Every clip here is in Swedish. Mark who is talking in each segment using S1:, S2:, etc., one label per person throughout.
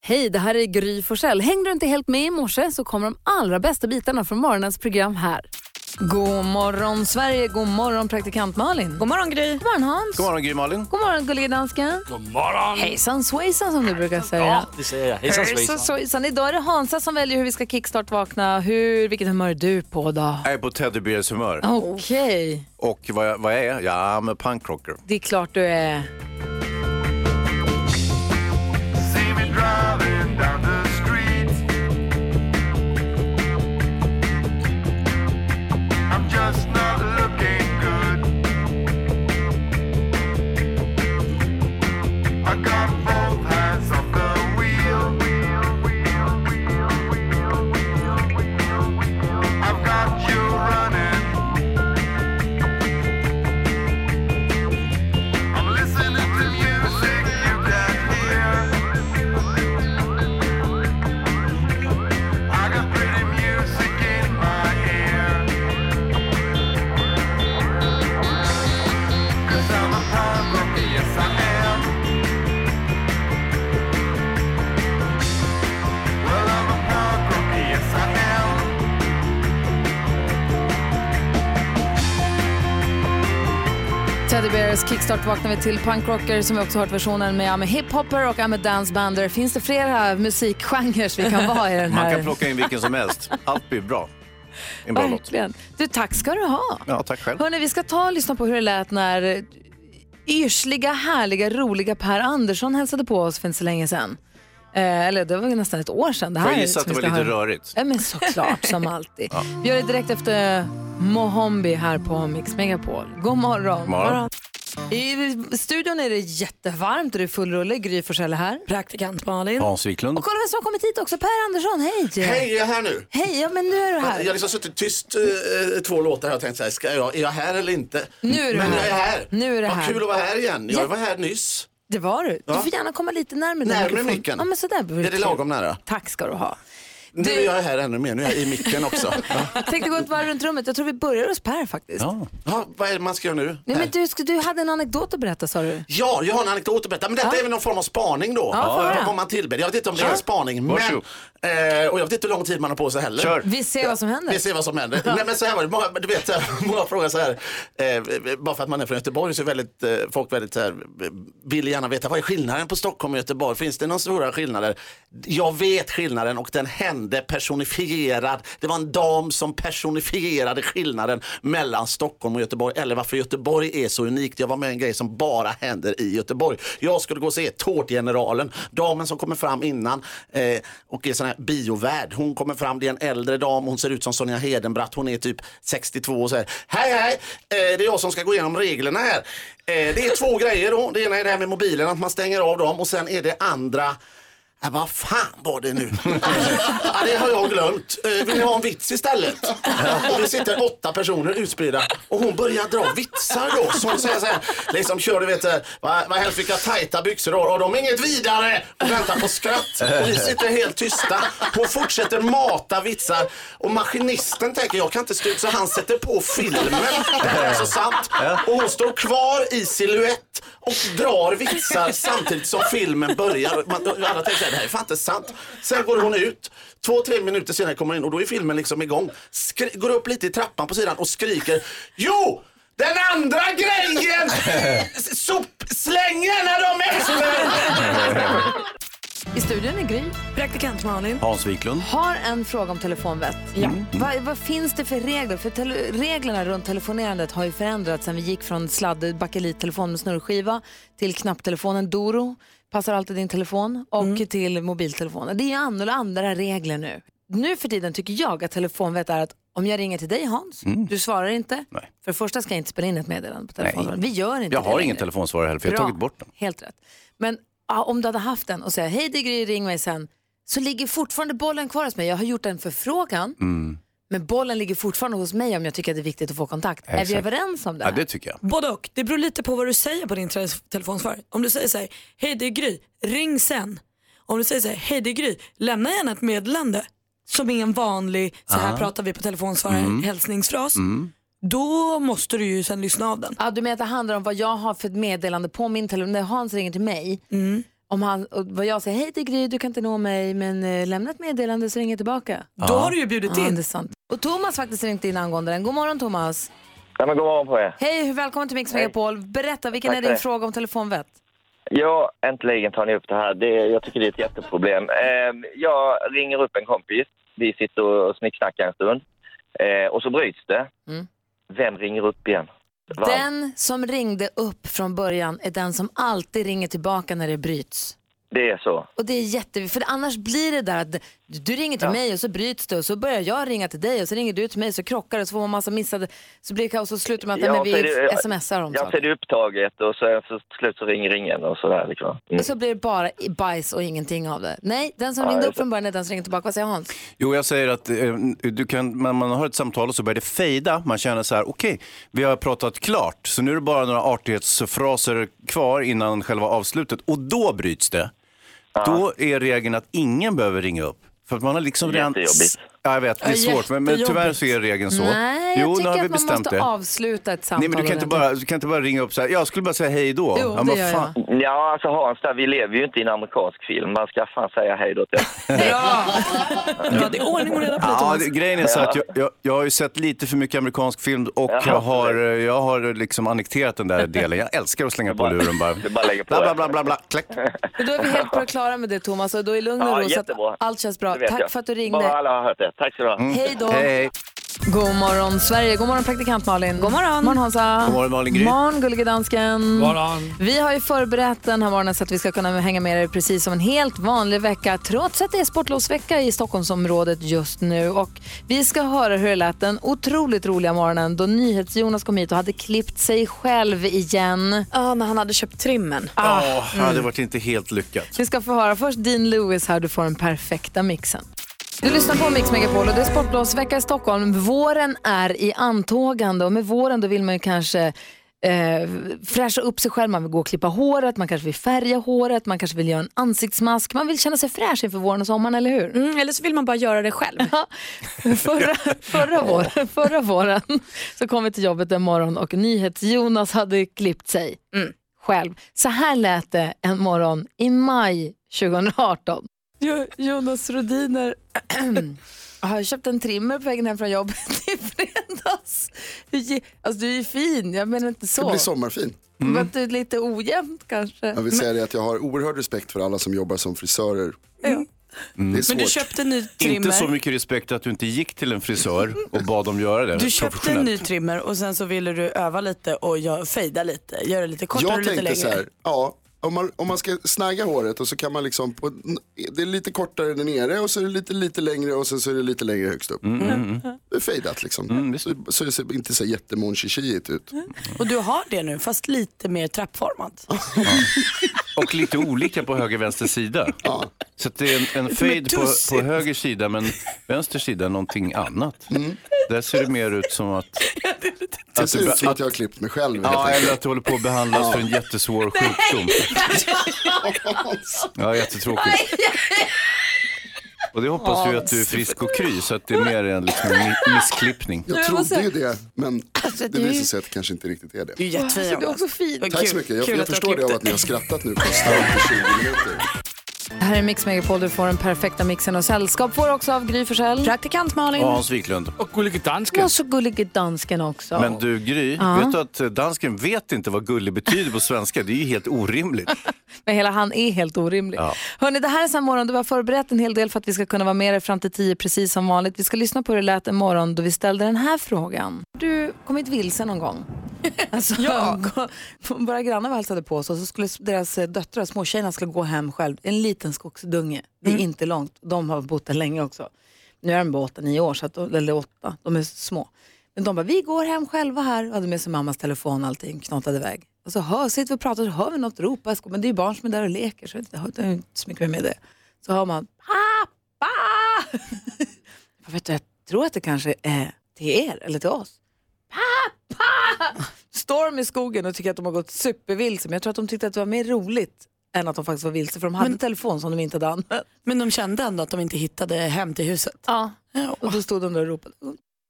S1: Hej, det här är Gry Forssell. Hängde du inte helt med i morse så kommer de allra bästa bitarna från morgonens program här. God morgon Sverige, god morgon praktikant Malin. God morgon Gry. God morgon Hans.
S2: God morgon Gry Malin.
S1: God morgon gullige dansken.
S3: God morgon.
S1: Hejsan svejsan som du brukar säga.
S3: Det säger jag. Hejsan svejsan.
S1: svejsan. Idag är det Hansa som väljer hur vi ska kickstart-vakna. Hur, vilket humör är du på då?
S2: Jag är på teddybjörns humör.
S1: Okej,
S2: Och vad jag, vad jag är? Ja, med punkrocker.
S1: det är klart du är.
S4: See me driving down the street. I'm just not looking good. I got both hands on the wheel. I've got you running. I'm listening to music you can hear. I got pretty music in my ear. Cause I'm a punk rocker, yes I am. Well, I'm a punk rocker, yes I am.
S1: Teddy Bears kickstart vaknar vi till punkrocker som vi också hört versionen med. I'm a hiphopper och I'm a dancebander. Finns det flera musikgenrer vi kan vara i den här?
S2: Man kan plocka in vilken som helst. Allt blir bra. En bra låt.
S1: Verkligen. Du, tack ska du ha.
S2: Ja, tack själv.
S1: Hörrni, vi ska ta och lyssna på hur det lät när yrsliga, härliga, roliga Per Andersson hälsade på oss för inte så länge sedan. Eh, eller det var ju nästan ett år sedan. Det här
S2: Får jag gissa att
S1: som
S2: det
S1: vi
S2: var
S1: ska
S2: lite
S1: höra.
S2: rörigt?
S1: Ja, men såklart, som alltid. Vi gör det direkt efter Mohombi här på Mix Megapol. God morgon.
S2: Morgon.
S1: I studion är det jättevarmt och det är full rulle. Gry Forssell är här.
S5: Praktikant Malin.
S2: Hans Wiklund.
S1: Och kolla vem som har kommit hit också, Per Andersson. Hej!
S6: Hej, jag är här nu.
S1: Hej, ja men nu är du
S6: Jag har
S1: här.
S6: liksom suttit tyst eh, två låtar här och tänkt så här, ska jag, är jag här eller inte?
S1: Nu är du
S6: Men
S1: här.
S6: jag är här.
S1: Nu är du
S6: Vad
S1: här.
S6: kul att vara här igen.
S1: Ja.
S6: Jag var här nyss.
S1: Det var du. Du
S6: Ja.
S1: får gärna komma lite närmare din
S6: Närmare
S1: mikrofon.
S6: micken.
S1: Ja, men sådär. vore
S6: Är det
S1: kul.
S6: lagom nära?
S1: Tack ska du ha.
S6: Nu är jag här ännu mer, nu är jag i micken också. Ja.
S1: Tänkte gå ett varv runt rummet. Jag tror vi börjar hos Per faktiskt.
S2: Ja.
S6: Ja, vad är det man ska göra nu?
S1: Nej, men
S6: Här.
S1: du, sk- du hade en anekdot att berätta sa du.
S6: Ja, jag har en anekdot att berätta. Men detta är väl någon form av spaning då.
S1: Ja, får höra.
S6: vad man tillber. Jag vet inte om det är en spaning. Men,
S2: Varsågod.
S6: eh, och jag vet inte hur lång tid man har på sig heller.
S2: Kör.
S1: Vi ser vad som händer.
S6: Vi ser vad som händer. Nej, men så här var det. Många, du vet, så här, många frågar så här. Eh, bara för att man är från Göteborg så är väldigt, eh, folk väldigt så här, eh, vill gärna veta vad är skillnaden på Stockholm och Göteborg? Finns det några stora skillnader? Jag vet skillnaden och den hände personifierad. Det var en dam som personifierade skillnaden mellan Stockholm och Göteborg eller varför Göteborg är så unikt. Jag var med i en grej som bara händer i Göteborg. Jag skulle gå och se Tårtgeneralen. Damen som kommer fram innan eh, och är sån här biovärd. Hon kommer fram, det är en äldre dam, hon ser ut som Sonja Hedenbratt. Hon är typ 62 och säger Hej hej, eh, det är jag som ska gå igenom reglerna här. Eh, det är två grejer då. Det ena är det här med mobilen, att man stänger av dem och sen är det andra Ja, vad fan var det nu? ja, det har jag glömt. Eh, Vill ni ha en vits istället? Och det sitter åtta personer utspridda och hon börjar dra vitsar då. Så hon säger så här, liksom kör du vet, eh, vad vad helst vilka tajta byxor du har och de är inget vidare och väntar på skratt. Och vi sitter helt tysta. Hon fortsätter mata vitsar och maskinisten tänker jag kan inte stå ut så han sätter på filmen. Det här är så sant. Och hon står kvar i siluett och drar vitsar samtidigt som filmen börjar. Man, alla tänker att det här är fan inte sant. Sen går hon ut, två, tre minuter senare kommer hon in och då är filmen liksom igång. Skri- går upp lite i trappan på sidan och skriker Jo! Den andra grejen! S- Sop, släng gärna dem efter!
S1: I studion är Gry.
S5: Praktikant Malin.
S2: Hans Wiklund.
S1: Har en fråga om telefonvett. Ja. Vad, vad finns det för regler? För tele- reglerna runt telefonerandet har ju förändrats sen vi gick från sladd bakelittelefonen med snurrskiva till knapptelefonen Doro, passar alltid din telefon, och till mobiltelefonen. Det är ju annorlunda andra regler nu. Nu för tiden tycker jag att telefonvett är att om jag ringer till dig Hans, du svarar inte.
S2: Nej.
S1: För det första ska jag inte spela in ett meddelande på telefonen.
S2: Nej.
S1: Vi gör inte
S2: Jag
S1: det
S2: har
S1: längre.
S2: ingen telefonsvarare heller för jag har
S1: Bra.
S2: tagit bort den.
S1: Helt rätt. Men ja, om du hade haft den och säger hej det är Gry, ring mig sen. Så ligger fortfarande bollen kvar hos mig. Jag har gjort en förfrågan.
S2: Mm.
S1: Men bollen ligger fortfarande hos mig om jag tycker att det är viktigt att få kontakt. Är vi
S2: Exakt.
S1: överens om det?
S2: Ja,
S1: Här?
S2: det tycker jag.
S5: Både och. Det beror lite på vad du säger på din tele- telefonsvar. Om du säger så här, hej det är Gry, ring sen. Om du säger så här, hej det är Gry, lämna gärna ett meddelande som är en vanlig, så här pratar vi på telefonsvar, hälsningsfras. Då måste du ju sen lyssna av den. Mm.
S1: Ja, du menar att det handlar om vad jag har för ett meddelande på min telefon. När Hans ringer till mig, Om han, och vad jag säger, hej det är Gry, du kan inte nå mig men eh, lämna ett meddelande så ringer jag tillbaka.
S5: Då har du ju bjudit
S1: Ja,
S5: in.
S1: det är sant. Och Thomas faktiskt ringt in angående den. God morgon Thomas.
S3: Nej, men god morgon på er.
S1: Hej, välkommen till Mix Megapol. Berätta, vilken
S3: Tack
S1: är
S3: för
S1: din
S3: det.
S1: fråga om telefonvett?
S3: Ja, äntligen tar ni upp det här. Det, jag tycker det är ett jätteproblem. Eh, jag ringer upp en kompis. Vi sitter och snicksnackar en stund. Eh, och så bryts det.
S1: Mm.
S3: Vem ringer upp igen? Va?
S1: Den som ringde upp från början är den som alltid ringer tillbaka när det bryts.
S3: Det är så.
S1: Och det är jätte... För annars blir det där att du ringer till
S3: Ja.
S1: mig och så bryts det och så börjar jag ringa till dig och så ringer du till mig så krockar det och så får man massa missade... Så blir det kaos och så slutar man att
S3: Ja,
S1: nej, men
S3: så
S1: vi
S3: är det-
S1: smsar om
S3: Jag ser
S1: saker.
S3: det upptaget och så, så till slut så ringer ingen och sådär. Liksom. Mm.
S1: Och så blir det bara i- bajs och ingenting av det. Nej, den som
S3: Ja,
S1: ringde
S3: just
S1: upp från början är den som ringer tillbaka. Vad säger Hans?
S2: Jo, jag säger att eh, du kan, när man har ett samtal och så börjar det fejda. Man känner så här, okej, vi har pratat klart. Så nu är det bara några artighetsfraser kvar innan själva avslutet. Och då bryts det. Då är regeln att ingen behöver ringa upp. För att man har liksom redan...
S3: Jättejobbigt.
S2: Ja, jag vet, det är
S5: Ja,
S2: svårt. Men, men tyvärr så är regeln så.
S1: Nej,
S2: jo,
S1: jag
S2: nu
S1: tycker
S2: har vi
S1: att man
S2: bestämt
S1: måste
S2: det.
S1: avsluta ett samtal.
S2: Nej, men du kan, inte
S1: ordentligt.
S2: bara, du kan inte bara ringa upp så här, jag skulle bara säga hej då.
S1: Jo,
S2: men
S1: det gör
S2: fan.
S1: jag.
S3: Ja, alltså Hans, där, vi lever ju inte i en amerikansk film. Man ska fan säga hej då till
S5: Ja, det är ordning och reda på det
S2: Ja,
S5: Thomas.
S2: det, grejen är så att jag, jag, jag har ju sett lite för mycket amerikansk film och
S3: Ja,
S2: jag har, eh, jag har liksom annekterat den där delen. Jag älskar att slänga på
S3: bara-
S2: luren bara.
S3: du bara lägger på
S2: bla, bla,
S3: det.
S2: bla, bla, bla. Klack.
S1: Men då är vi helt på det klara med det Thomas och då är lugn och
S3: Ja,
S1: ro så att
S3: jättebra.
S1: allt känns bra.
S3: Det vet
S1: Tack
S3: jag.
S1: för att du ringde.
S3: Bara alla har hört det. Tack så du ha.
S1: Hej då.
S2: Hej, hej.
S1: God morgon Sverige, god morgon praktikant Malin. God morgon. morgon Hansa. God
S2: morgon, Malin Gry.
S1: morgon gullige dansken. Morgon. Vi har ju förberett den här morgonen så att vi ska kunna hänga med er precis som en helt vanlig vecka trots att det är sportlovsvecka i Stockholmsområdet just nu. Och vi ska höra hur det lät den otroligt roliga morgonen då NyhetsJonas kom hit och hade klippt sig själv igen. Ah,
S7: Ja, när han hade köpt trimmen.
S2: Åh, det hade varit inte helt lyckat.
S1: Vi ska få höra först Dean Lewis här, du får den perfekta mixen. Du lyssnar på Mix Megapol och det är sportlovsvecka i Stockholm. Våren är i antågande och med våren då vill man ju kanske eh, fräscha upp sig själv. Man vill gå och klippa håret, man kanske vill färga håret, man kanske vill göra en ansiktsmask. Man vill känna sig fräsch inför våren och sommaren, eller hur?
S7: Mm, eller så vill man bara göra det själv.
S1: Förra, förra, vår, förra våren så kom vi till jobbet en morgon och NyhetsJonas hade klippt sig
S7: Mm.
S1: själv. Så här lät det en morgon i maj 2018. Jo, Jonas Rodiner har köpt en trimmer på vägen hem från jobbet i fredags. Hur ge- Alltså du är ju fin, jag menar inte
S8: Det
S1: så.
S8: blir sommarfin.
S5: Mm.
S1: Men att du är lite ojämnt kanske.
S8: Jag vill säga det att jag har oerhörd respekt för alla som jobbar som frisörer. Det är
S5: Mm. Men du
S8: svårt.
S5: köpte en ny
S2: Inte så
S5: trimmer.
S2: mycket respekt att du inte gick till en frisör och bad dem göra det.
S5: Du köpte en
S2: professionellt.
S5: ny trimmer och sen så ville du öva lite och gö- fejda lite, göra det lite kortare och
S8: Jag
S5: lite längre.
S8: tänkte så här, ja, om man, om man ska snagga håret och så kan man liksom, på, det är lite kortare där nere och så är det lite, lite längre och sen så är det lite längre högst upp. Det är fejdat liksom. så, så det ser inte så jättemon ut.
S5: Och du har det nu, fast lite mer trappformat.
S2: Och lite olika på höger och vänster sida. Så att det är en, en fade på, på
S5: tussigt.
S2: höger sida men vänster sida någonting annat. Där ser det mer ut som att...
S8: Det ser ut som
S2: att-
S8: att jag har klippt mig själv. helt
S2: Ja,
S8: enkelt.
S2: eller att du håller på att behandlas för en jättesvår sjukdom. Ja, jättetråkigt. Och det hoppas vi att du är frisk och kry så att det är mer en liksom, mi- missklippning.
S8: Jag trodde ju det, men
S5: Alltså,
S8: det visar sig att det kanske inte riktigt är det.
S5: Du Alltså, är jättefin.
S1: Du är också fin.
S8: Tack så mycket. Jag, jag förstår det av att ni har skrattat nu konstant i 20 minuter.
S1: Det här är Mix Megapol, du får den perfekta mixen och sällskap. Får också av Gry Forssell.
S7: Praktikant Malin.
S2: Och Hans Wiklund.
S1: Och så gullig dansken också.
S2: Men du Gry, vet du att eh, dansken vet inte vad gullig betyder på svenska? Det är ju helt orimligt.
S1: Men hela han är helt orimlig.
S2: Ja.
S1: Hörni, det här är en sån morgon då vi har förberett en hel del för att vi ska kunna vara med er fram till tio precis som vanligt. Vi ska lyssna på hur det lät en morgon då vi ställde den här frågan. Har Du kommit vilse någon gång? Alltså, ja. Våra grannar var och hälsade på oss och så skulle deras eh, döttrar, småtjejerna, skulle gå hem själv. En liten skogsdunge. Det är inte långt. De har bott där länge också. Nu är de bara åtta, nio år, så att, eller åtta. De är små. Men de bara, vi går hem själva här. Och hade med sig mammas telefon och allting, knatade iväg. Och så hör, sitter vi och pratar så hör vi något ropa. Men det är ju barn som är där och leker så det har det har inte så mycket med det. Så hör man, pappa! jag, vet, du, jag tror att det kanske är till er eller till oss. Pappa! Storm i skogen och tycker att de har gått supervilse. Men jag tror att de tyckte att det var mer roligt än att de faktiskt var vilse. För de hade telefon som de inte hade använt.
S5: Men de kände ändå att de inte hittade hem till huset.
S1: Ja. Och då stod de där och ropade.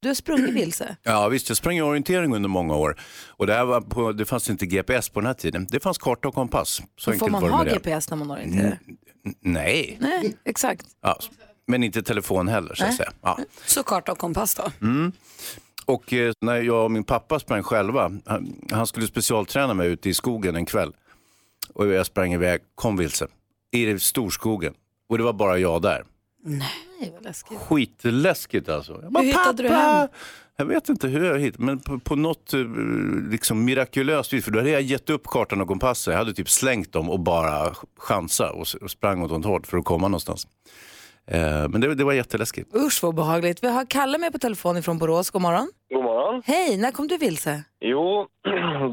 S1: Du har
S2: Mm.
S1: sprungit vilse.
S2: Ja visst, jag sprang i orientering under många år. Och det, här var på, det fanns inte GPS på den här tiden. Det fanns karta och kompass. Så
S1: Får
S2: enkelt
S1: man
S2: var det
S1: ha
S2: med det. Mm.
S1: GPS när man orienterar?
S2: Nej,
S1: Nej, exakt.
S2: ja, men inte telefon heller så att säga. Ja. Mm.
S5: Så karta och kompass då.
S2: Och eh, när jag och min pappa sprang själva, han, han skulle specialträna mig ute i skogen en kväll. Och jag sprang iväg, kom vilse, i storskogen. Och det var bara jag där.
S1: Nej, vad läskigt.
S2: Skitläskigt alltså. Jag
S7: Hur hittade du hem?
S2: Jag vet inte hur jag hittade, men på, på något eh, liksom mirakulöst vis, för då hade jag gett upp kartan och kompassen. Jag hade typ slängt dem och bara ch- chansa och, s- och sprang åt något håll för att komma någonstans. Eh, men det, det var jätteläskigt.
S1: Usch vad behagligt. Vi har Kalle med på telefon från Borås. God morgon.
S9: God morgon.
S1: Hej, när kom du vilse?
S9: Jo,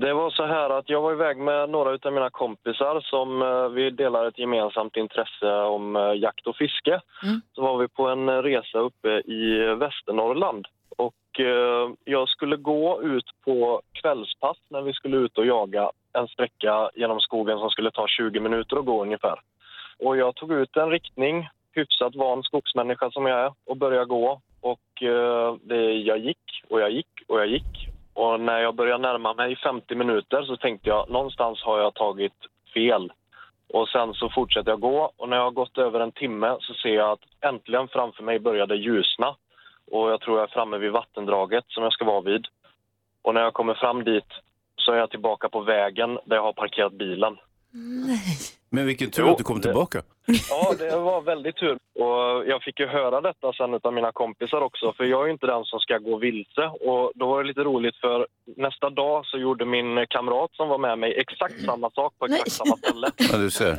S9: det var så här att jag var iväg med några av mina kompisar som eh, vi delar ett gemensamt intresse om eh, jakt och fiske.
S1: Mm.
S9: Så var vi på en eh, resa uppe i eh, Västernorrland och eh, jag skulle gå ut på kvällspass när vi skulle ut och jaga en sträcka genom skogen som skulle ta 20 minuter att gå ungefär. Och jag tog ut en riktning, hyfsat van skogsmänniska som jag är, och började gå. Och eh, det, jag gick och jag gick och jag gick och när jag började närma mig 50 minuter så tänkte jag någonstans har jag tagit fel. Och sen så fortsätter jag gå och när jag har gått över en timme så ser jag att äntligen framför mig började ljusna. Och jag tror jag är framme vid vattendraget som jag ska vara vid. Och när jag kommer fram dit så är jag tillbaka på vägen där jag har parkerat bilen.
S2: Men vilken tur
S9: Jo,
S2: att du kom
S9: det-
S2: tillbaka.
S9: Ja, det var väldigt tur. Och jag fick ju höra detta sen av mina kompisar också, för jag är ju inte den som ska gå vilse. Och då var det lite roligt, för nästa dag så gjorde min kamrat som var med mig exakt samma sak på exakt samma ställe.
S2: Ja, du ser.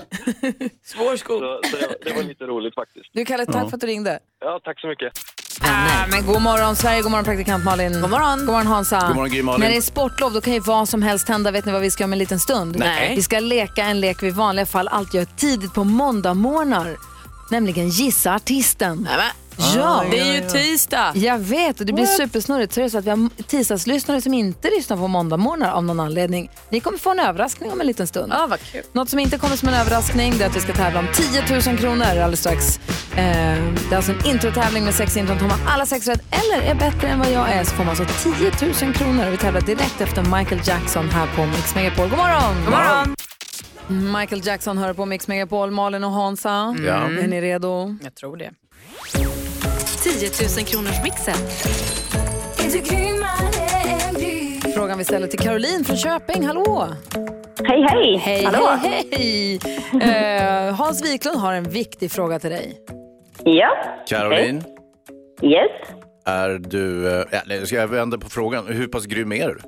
S5: Svår skog.
S9: Så, så det, det var lite roligt faktiskt.
S1: Du Kalle, tack för att du ringde.
S9: Ja, tack så mycket.
S1: Ah, men god morgon Sverige, god morgon praktikant Malin. God morgon. God morgon Hansa.
S2: God morgon, Gry Malin.
S1: När det är sportlov då kan ju vad som helst hända. Vet ni vad vi ska göra om en liten stund?
S7: Nej.
S1: Vi ska leka en lek vi i vanliga fall alltid gör tidigt på måndagmorgnar. Nämligen gissa artisten. Ja,
S7: Det är ju tisdag.
S1: jag vet och det blir supersnurrigt. Så är det så att vi har tisdagslyssnare som inte lyssnar på måndagmorgnar av någon anledning. Ni kommer få en överraskning om en liten stund.
S7: Ja, vad kul.
S1: Något som inte kommer som en överraskning det är att vi ska tävla om 10 000 kronor alldeles strax. Eh, det är alltså en introtävling med sex intron. Tar man alla sex rätt eller är bättre än vad jag är så får man alltså 10 000 kronor. Och vi tävlar direkt efter Michael Jackson här på Mix Megapol. God morgon! God morgon! Michael Jackson hör på Mix Megapol. Malin och Hansa,
S2: Ja.
S1: är ni redo?
S7: Jag tror det.
S10: 10 000 kronors mixen.
S1: Frågan vi ställer till Caroline från Köping. Hallå!
S11: Hej, hej!
S1: Hej,
S11: Hallå.
S1: hej, hej! Eh, Hans Wiklund har en viktig fråga till dig.
S11: Ja,
S2: Caroline,
S11: yes.
S2: är du... eh, Ja, nej, ska jag vända på frågan? Hur pass grym är du?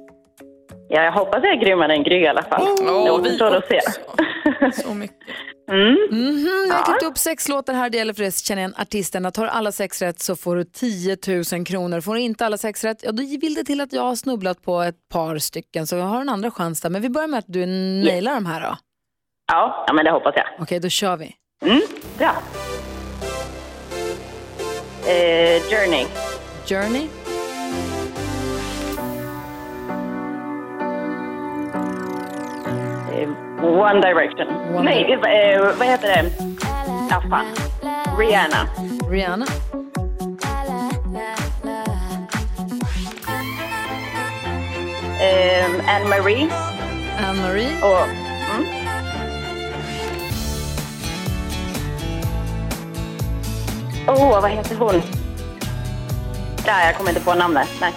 S11: Ja, jag hoppas jag är grymmare än Gry i alla fall. det återstår att se.
S5: Så mycket.
S11: Mm.
S1: Mhm, jag har klippt upp sex låtar här. Det gäller för dig att känna igen artisterna. Tar alla sex rätt så får du 10 000 kronor. Får du inte alla sex rätt, ja då vill det till att jag har snubblat på ett par stycken. Så jag har en andra chans där. Men vi börjar med att du nailar de här då.
S11: Ja, ja men det hoppas jag.
S1: Okej, då kör vi.
S11: Mm, bra. Eh, Journey.
S1: Journey.
S11: Eh, One Direction.
S1: One
S11: Nej, eh, vad heter det? Ja, fan. um, Rihanna.
S1: Rihanna.
S11: Eh, Anne Marie.
S1: Anne Marie.
S11: Och... Åh, oh, vad heter hon? Nej, jag kommer inte på namnet. Nej.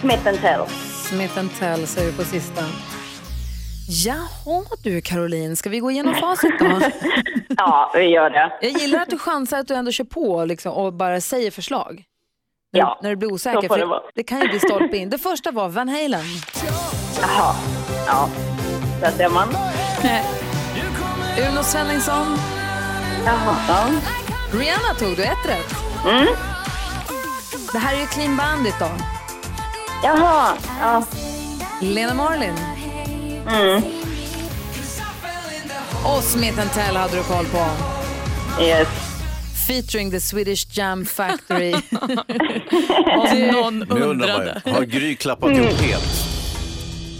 S11: Smith and Tell.
S1: Smith Tell säger du på sista. Jaha du Caroline, ska vi gå igenom facit då?
S11: Ja, vi gör det.
S1: Jag gillar att du chansar att du ändå kör på liksom, och bara säger förslag. När,
S11: Ja,
S1: när du blir osäker.
S11: så får
S1: för
S11: det vara.
S1: det kan ju bli stolpe in. Det första var Van Halen.
S11: Jaha. Ja, där ser man.
S1: Uno Svenningsson.
S11: Jaha. Ja.
S1: Rihanna tog du, ett rätt.
S11: Mm.
S1: Det här är ju Clean Bandit då.
S11: Jaha. Ja.
S1: Lena Marlin.
S11: Mm.
S1: Och Smith Tell hade du koll på.
S11: Yes.
S1: Featuring the Swedish Jam Factory.
S7: Om någon
S2: Nu undrar man
S7: undrade.
S11: Mm.
S2: ju, har Gry klappat ihop helt?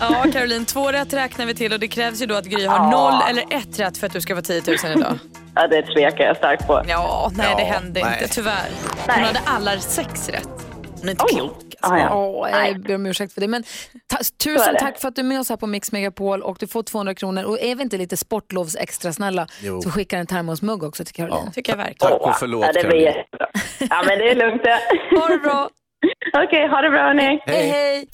S12: Ja, Caroline, två rätt räknar vi till och det krävs ju då att Gry har
S11: Ja.
S12: noll eller ett rätt för att du ska få 10 000 idag.
S11: Ja, det tvekar jag starkt på.
S12: Ja, nej det
S11: Ja,
S12: hände
S11: nej.
S12: inte tyvärr. Hon hade alla sex rätt. Hon är inte klok.
S1: Åh,
S11: Ah,
S12: alltså.
S1: jag ber om ursäkt för det. Men ta,
S12: är
S1: tusen
S12: det.
S1: tack för att du är med oss här på Mix Megapol och du får 200 kronor. Och är vi inte lite sportlovs extra snälla
S2: Jo.
S1: så skickar en termosmugg också till Caroline.
S2: Ja.
S12: Tycker jag verkligen.
S2: Tack och förlåt,
S11: Ja, det blir
S2: Caroline.
S11: jättebra. Ja, men det är lugnt det.
S12: Ha det bra.
S11: Okej, ha det bra hörni.
S1: Hej, hej.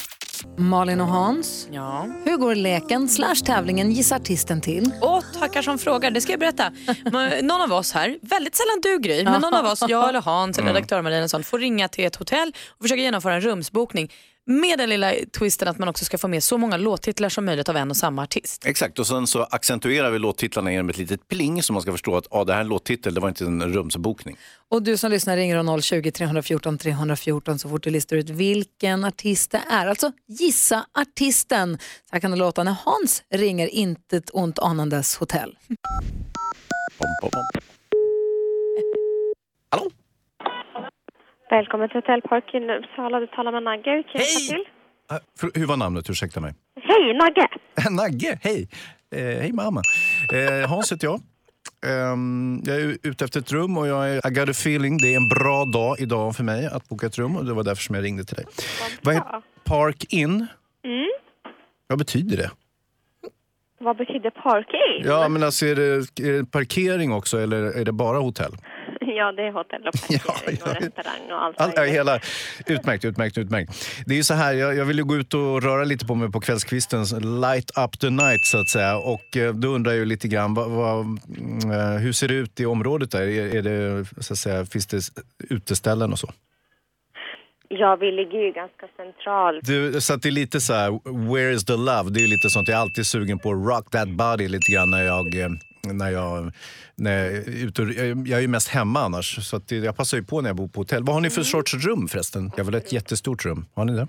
S1: Malin och Hans,
S12: Ja.
S1: hur går leken slash tävlingen Gissa artisten till?
S12: Åh, tackar som frågar. Det ska jag berätta. Man- Någon av oss här, väldigt sällan du Gry, men någon av oss, jag eller Hans eller
S1: Mm.
S12: redaktör Malin och sånt, får ringa till ett hotell och försöka genomföra en rumsbokning med den lilla twisten att man också ska få med så många låttitlar som möjligt av en och samma artist.
S2: Exakt, och sen så accentuerar vi låttitlarna genom ett litet pling så man ska förstå att ah, det här är en låttitel, det var inte en rumsbokning.
S1: Och du som lyssnar ringer 020-314 314 så fort du listar ut vilken artist det är. Alltså gissa artisten. Så här kan det låta när Hans ringer intet ont anandes hotell.
S2: Pom, pom, pom.
S13: Välkommen till Hotell Parkin Uppsala. Du talar med Nagge. Hur kan jag hjälpa till?
S2: Eh, för- Hur var namnet? Ursäkta mig.
S13: Hej, Nagge!
S2: Nagge, hej! Eh, hej mamma. Eh, Hans heter jag. Ehm, jag är ute efter ett rum och jag är I got a feeling. Det är en bra dag idag för mig att boka ett rum och det var därför som jag ringde till dig. Vad heter Park In?
S13: Mm.
S2: Vad betyder det?
S13: Vad betyder parking?
S2: Ja, men alltså är det, är det parkering också eller är det bara hotell?
S13: Ja, det är hotell och parkering och restaurang och allt.
S2: All, ja, hela. Utmärkt, utmärkt, utmärkt. Det är ju så här, jag, jag vill ju gå ut och röra lite på mig på kvällskvisten, så light up the night så att säga. Och eh, då undrar jag ju lite grann, vad, vad, mm, eh, hur ser det ut i området där? Är, är det, så att säga, finns det s- uteställen och så?
S13: Ja, vi ligger ju ganska centralt.
S2: Du, så att det är lite så här, where is the love? Det är ju lite sånt, jag är alltid sugen på rock that body lite grann när jag eh, när jag, när jag, är ute och- jag är- jag är ju mest hemma annars, så att det- jag passar ju på när jag bor på hotell. Vad har ni för
S13: Mm.
S2: sorts rum förresten? Jag vill ha ett jättestort rum. Har ni det?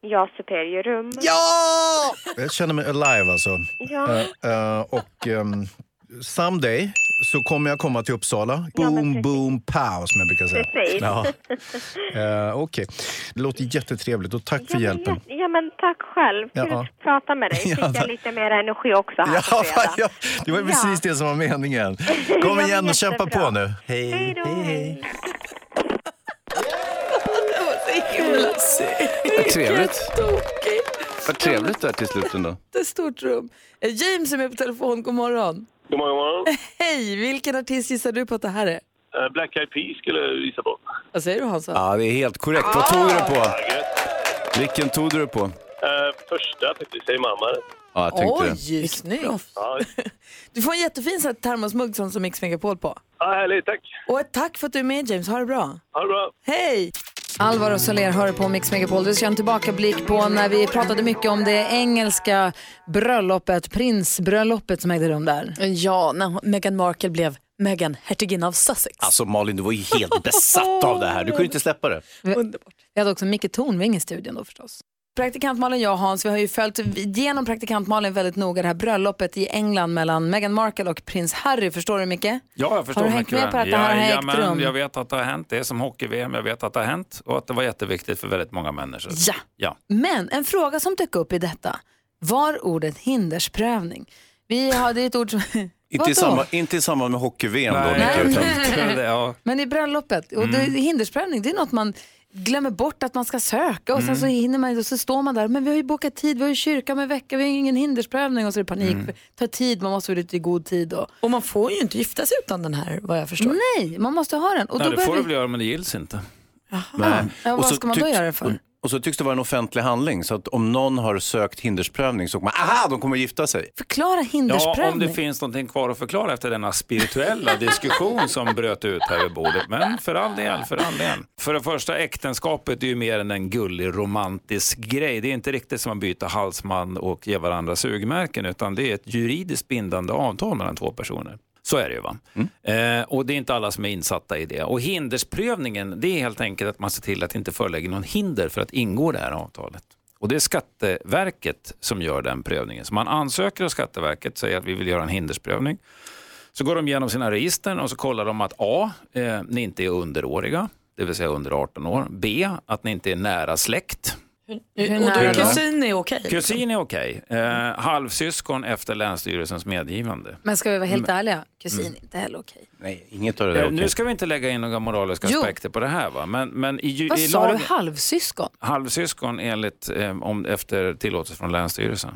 S13: Ja, superior rum.
S2: Ja! Jag känner mig alive alltså.
S13: Ja.
S2: Eh, eh, och ehm, someday så kommer jag komma till Uppsala. Boom, boom, pow som jag brukar säga.
S13: Precis.
S2: Ja. Eh, Okej, det låter jättetrevligt och tack för hjälpen.
S13: ja, men tack själv. Kul
S2: Ja.
S13: att prata med dig. Fick
S2: Ja, tack.
S13: jag lite mer energi också här på
S2: Ja,
S13: fredag.
S2: ja, det var ju precis det som var meningen. Kom
S13: Ja,
S2: igen och kämpa
S13: jättebra.
S2: på nu. Hej.
S13: Hej då.
S12: Det var så himla synd.
S2: Vad trevligt.
S1: Tokigt.
S2: Vad trevligt det här till slut ändå.
S1: Jättestort rum. Eh, James är med på telefon. God morgon.
S14: God morgon, god morgon.
S1: Hej, vilken artist gissar du på att det här är?
S14: Eh, Black Eyed Peas skulle jag visa på.
S1: Vad säger du Hansa?
S2: Ja, det är helt korrekt. Vad tog du på? Vilken tog du på?
S14: Eh, första faktiskt, säger mamma.
S2: Ja, jag tänkte det.
S1: Oj, snyggt.
S14: Ja,
S1: Du får en jättefin sån här termosmugg som som Mix Megapol på.
S14: ja härligt. Tack.
S1: Och ett tack för att du är med James. Ha det bra.
S14: Ha det bra.
S1: Hej! Alvaro Soler hör på Mix Megapol. Vi ska göra en tillbakablick på när vi pratade mycket om det engelska bröllopet, prinsbröllopet som ägde rum där.
S12: Ja, när hon- Meghan Markle blev Meghan, hertiginna av Sussex.
S2: Alltså Malin, du var ju helt besatt av det här. Du kunde inte släppa det.
S1: Underbart. Vi hade också Micke Tornving i studion då förstås. Praktikant Malin, jag och Hans, vi har ju följt genom praktikant Malin väldigt noga det här bröllopet i England mellan Meghan Markle och prins Harry. Förstår du Micke?
S15: Ja, jag förstår
S1: Har du hängt
S15: mycket
S1: med
S15: väl.
S1: på att det här har ägt
S15: Jajamän,
S1: rum?
S15: Jag vet att det har hänt. Det är som hockey-VM. Jag vet att det har hänt och att det var jätteviktigt för väldigt många människor.
S1: Ja.
S15: ja.
S1: Men en fråga som dök upp i detta var ordet hindersprövning. Vi hade ett ord som...
S2: Inte i,
S1: Vadå?
S2: samband, inte i samband med hockey-VM då.
S15: Nej,
S2: Micke, utan-
S15: Det, ja.
S1: Men i bröllopet, och det,
S15: Mm.
S1: hindersprövning det är något man glömmer bort att man ska söka och sen
S15: Mm.
S1: så hinner man och så står man där. Men vi har ju bokat tid, vi har ju kyrka om en vecka, vi har ju ingen hindersprövning och så är det panik.
S12: Mm.
S1: Det tar tid, man måste vara ute i god tid. Och...
S12: Och man får ju inte gifta sig utan den här vad jag förstår.
S1: Nej, man måste ha den. Och då
S15: Nej, det får
S1: börjar
S15: du
S1: vi...
S15: väl göra, men det gills inte.
S2: Nej.
S1: Ja, vad ska man då
S15: typ-
S2: tycks-
S1: göra det för?
S2: Och, och så tycks det vara en offentlig handling, så att om någon har sökt hindersprövning så kommer man, aha, de kommer att gifta sig.
S1: Förklara
S15: Ja, om
S1: hindersprövning.
S15: det finns någonting kvar att förklara efter denna spirituella diskussion som bröt ut här vid bordet. Men för all del, för all del. För det första, äktenskapet är ju mer än en gullig romantisk grej. Det är inte riktigt som att byta halsman och ge varandra sugmärken, utan det är ett juridiskt bindande avtal mellan två personer. Så är det ju. Va? Eh, och det är inte alla som är insatta i det. Och hindersprövningen, det är helt enkelt att man ser till att inte förelägga någon hinder för att ingå det här avtalet. Och Det är Skatteverket som gör den prövningen. Så man ansöker hos Skatteverket, säger att vi vill göra en hindersprövning. Så går de igenom sina register och så kollar de att A, eh, ni inte är underåriga, det vill säga under 18 år. B, att ni inte är nära släkt.
S1: Hur
S12: Och då är
S1: nära då?
S12: kusin är okej.
S15: Kusin är okej. Eh, halvsyskon efter Länsstyrelsens medgivande.
S1: Men ska vi vara helt
S15: Mm.
S1: ärliga, kusin
S15: Mm.
S1: inte heller okej.
S2: Nej, inget av det där
S15: Eh,
S2: är okej.
S15: Nu ska vi inte lägga in några moraliska
S1: Jo.
S15: aspekter på det här va? Men, men i, ju-
S1: Vad
S15: i
S1: sa
S15: lagen,
S1: du, halvsyskon?
S15: halvsyskon enligt, eh, om, efter tillåtelse från Länsstyrelsen.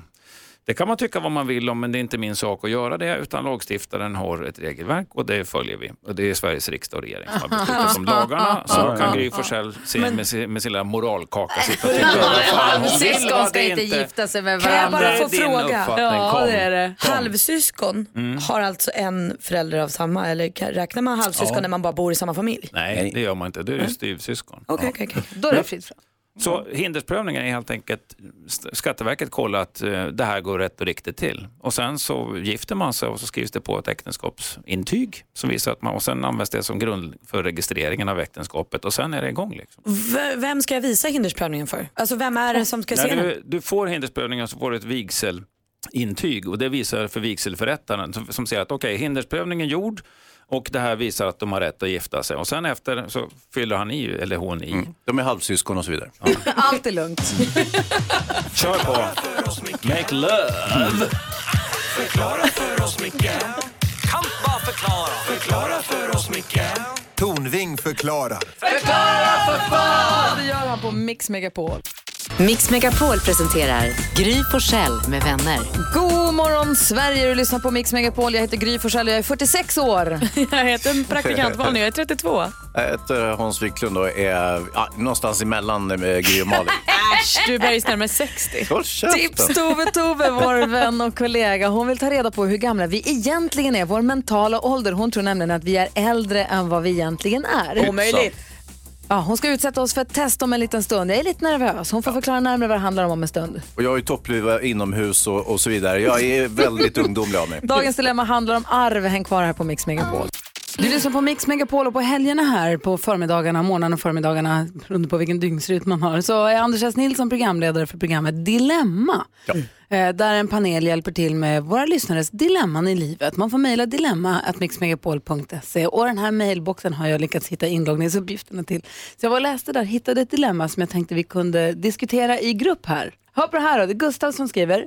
S15: Det kan man tycka vad man vill om, men det är inte min sak att göra det, utan lagstiftaren har ett regelverk och det följer vi. Och det är Sveriges riksdag och regering som har beslutat om lagarna. Så kan Gry Forssell se med, sin, med sin lilla moralkaka sitta och tycka vad fan hon vill.
S1: Halvsyskon
S15: vad
S1: ska
S15: det
S1: inte gifta sig med
S5: Kan jag
S1: varandra.
S5: bara få
S15: Det är din
S5: fråga?
S15: uppfattning. Kom. Kom.
S5: Halvsyskon
S15: Mm.
S5: har alltså en förälder av samma, eller kan- räknar man halvsyskon
S15: Ja.
S5: när man bara bor i samma familj?
S15: Nej, det gör man inte. Du är styvsyskon.
S5: Okej, okej, okej.
S1: Då är det fritt fram.
S15: Så
S2: Mm.
S15: hindersprövningen är helt enkelt, St- Skatteverket kollar att eh, det här går rätt och riktigt till. Och sen så gifter man sig och så skrivs det på ett äktenskapsintyg som visar att man, och sen används det som grund för registreringen av äktenskapet och sen är det igång. Liksom.
S5: V- vem ska jag visa hindersprövningen för? Alltså vem är det som ska se
S15: När
S5: den?
S15: du, du får hindersprövningen så får du ett vigselintyg och det visar för vigselförrättaren som, som säger att okej, hindersprövningen är gjord och det här visar att de har rätt att gifta sig. Och sen efter så fyller han i, eller hon i.
S2: Mm. De är halvsyskon och så vidare.
S1: Allt är lugnt.
S15: Mm. Kör på! Make love!
S4: Förklara för oss, Micke. Kan bara förklara. Förklara för oss, Micke. Tornving förklarar.
S1: Förklara för fan! Det gör han på Mix Megapol.
S10: Mix Megapol presenterar Gry Forssell med vänner.
S1: God morgon Sverige, du lyssnar på Mix Megapol. Jag heter Gry Forssell och jag är 46 år.
S12: jag heter praktikant Malin, jag är 32.
S2: Jag heter eh, Hans Wiklund och är ja, någonstans emellan eh, Gry och Malin.
S12: Äsch, du är bergis närmare 60.
S2: Håll käften.
S1: Tips Tove Tove, vår vän och kollega. Hon vill ta reda på hur gamla vi egentligen är, vår mentala ålder. Hon tror nämligen att vi är äldre än vad vi egentligen är.
S12: Omöjligt.
S1: Ja, hon ska utsätta oss för ett test om en liten stund. Jag är lite nervös. Hon får förklara närmare vad det handlar om om en stund.
S2: Och jag är toppluva inomhus och, och så vidare. Jag är väldigt ungdomlig av mig.
S1: Dagens dilemma handlar om arv. Häng kvar här på Mix Megapol. Du lyssnar på Mix Megapol och på helgerna här på förmiddagarna, morgnarna och förmiddagarna, beroende på vilken dygnsrytm man har, så är Anders S. Nilsson programledare för programmet Dilemma. Eh, Där en panel hjälper till med våra lyssnares dilemman i livet. Man får mejla dilemma.mixmegapol.se och den här mejlboxen har jag lyckats hitta inloggningsuppgifterna till. Så jag var och läste där, hittade ett dilemma som jag tänkte vi kunde diskutera i grupp här. Hör på det här då, det är Gustav som skriver.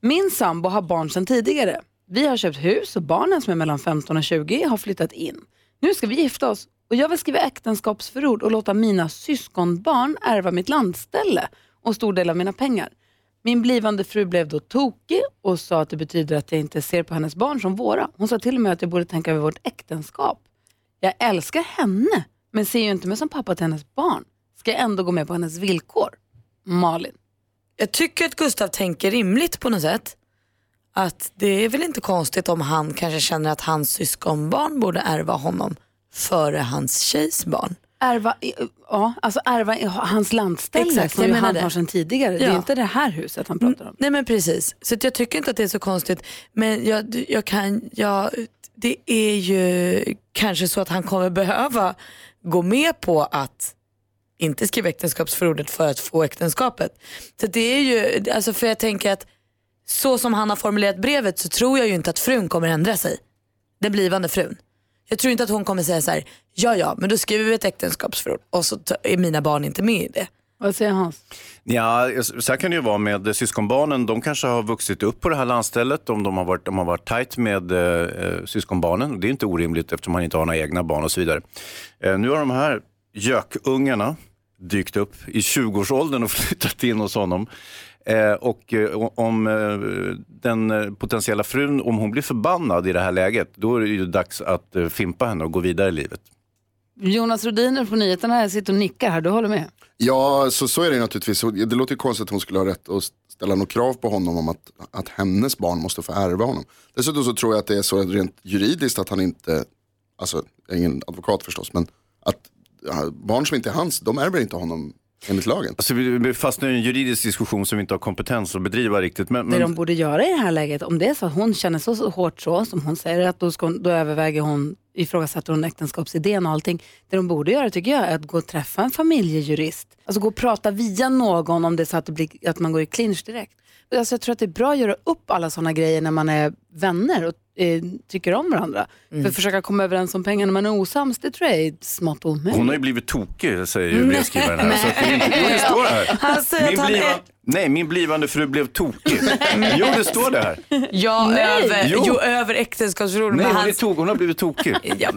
S1: Min sambo har barn sedan tidigare. Vi har köpt hus och barnen som är mellan 15 och 20 har flyttat in. Nu ska vi gifta oss och jag vill skriva äktenskapsförord och låta mina syskonbarn ärva mitt landställe och stor del av mina pengar. Min blivande fru blev då tokig och sa att det betyder att jag inte ser på hennes barn som våra. Hon sa till och med att jag borde tänka över vårt äktenskap. Jag älskar henne, men ser ju inte mig som pappa till hennes barn. Ska jag ändå gå med på hennes villkor? Malin.
S5: Jag tycker att Gustav tänker rimligt på något sätt. Att det är väl inte konstigt om han kanske känner att hans syskonbarn borde ärva honom före hans tjejs barn.
S1: Ärva, i- ja, alltså ärva i- hans landställe
S5: Exakt,
S1: som
S5: jag
S1: ju
S5: menar
S1: han
S5: det.
S1: har sedan tidigare. Det är
S5: Ja.
S1: inte det här huset han pratar om.
S5: Nej men precis, så att jag tycker inte att det är så konstigt. Men jag, jag kan, jag, det är ju kanske så att han kommer behöva gå med på att inte skriva äktenskapsförordet för att få äktenskapet. Så det är ju, alltså för jag tänker att så som han har formulerat brevet så tror jag ju inte att frun kommer ändra sig. Den blivande frun. Jag tror inte att hon kommer säga så här, ja ja, men då skriver vi ett äktenskapsförord och så ta- är mina barn inte med i det.
S1: Vad säger Hans?
S2: Ja, så här kan det ju vara med syskonbarnen. De kanske har vuxit upp på det här landstället om de har varit, om de har varit tajt med eh, syskonbarnen. Och Det är inte orimligt eftersom man inte har några egna barn och så vidare. Eh, nu har de här gökungarna dykt upp i 20-årsåldern och flyttat in hos honom. Eh, och eh, o- om eh, den eh, potentiella frun, om hon blir förbannad i det här läget, då är det ju dags att eh, fimpa henne och gå vidare i livet.
S1: Jonas Rodiner på nyheterna här sitter och nickar här, du håller med?
S8: Ja, så, så är det ju naturligtvis. Och Det låter ju konstigt att hon skulle ha rätt att ställa något krav på honom om att, att hennes barn måste få ärva honom. Dessutom så tror jag att det är så rent juridiskt att han inte, alltså jag är ingen advokat förstås, men att ja, barn som inte är hans, de ärver inte honom enligt lagen.
S2: Alltså, vi vi fastnar i en juridisk diskussion som vi inte har kompetens att bedriva riktigt. Men,
S1: Det
S2: men-
S1: de borde göra i det här läget, om det är så att hon känner så så hårt så som hon säger, att då, ska hon, då överväger hon ifrågasatte hon äktenskapsidén och allting. Det de borde göra tycker jag är att gå och träffa en familjejurist. Alltså gå och prata via någon om det är så att, det blir, att man går i clinch direkt. Alltså jag tror att det är bra att göra upp alla sådana grejer när man är vänner och eh, tycker om varandra. För
S2: Mm.
S1: att försöka komma överens om pengar när man är osams, det tror jag är smått omöjligt.
S2: Hon har ju blivit tokig, säger ju brevskrivaren här. Så att det, är inte- jo, det står här.
S1: Han säger att han är-
S2: Nej, min blivande fru blev tokig. Jo, det står det här.
S12: Jag
S2: Nej.
S12: över,
S2: Jo.
S12: jo, över äktenskapsförord
S2: Nej,
S12: med
S2: hon, är
S12: hans...
S2: tok, hon har blivit tokig.
S12: Ja,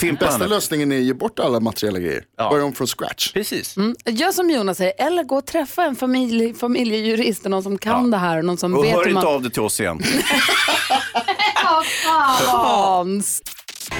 S12: men...
S8: Bästa lösningen är att ge bort alla materiella grejer. Börja om från scratch.
S2: Precis.
S1: Mm, gör som Jonas säger, eller gå och träffa en familj, familjejurist, och någon som kan det här och någon som
S2: Och
S1: vet
S2: hör
S1: hur
S2: inte
S1: man...
S2: av dig till oss igen.
S1: Hans.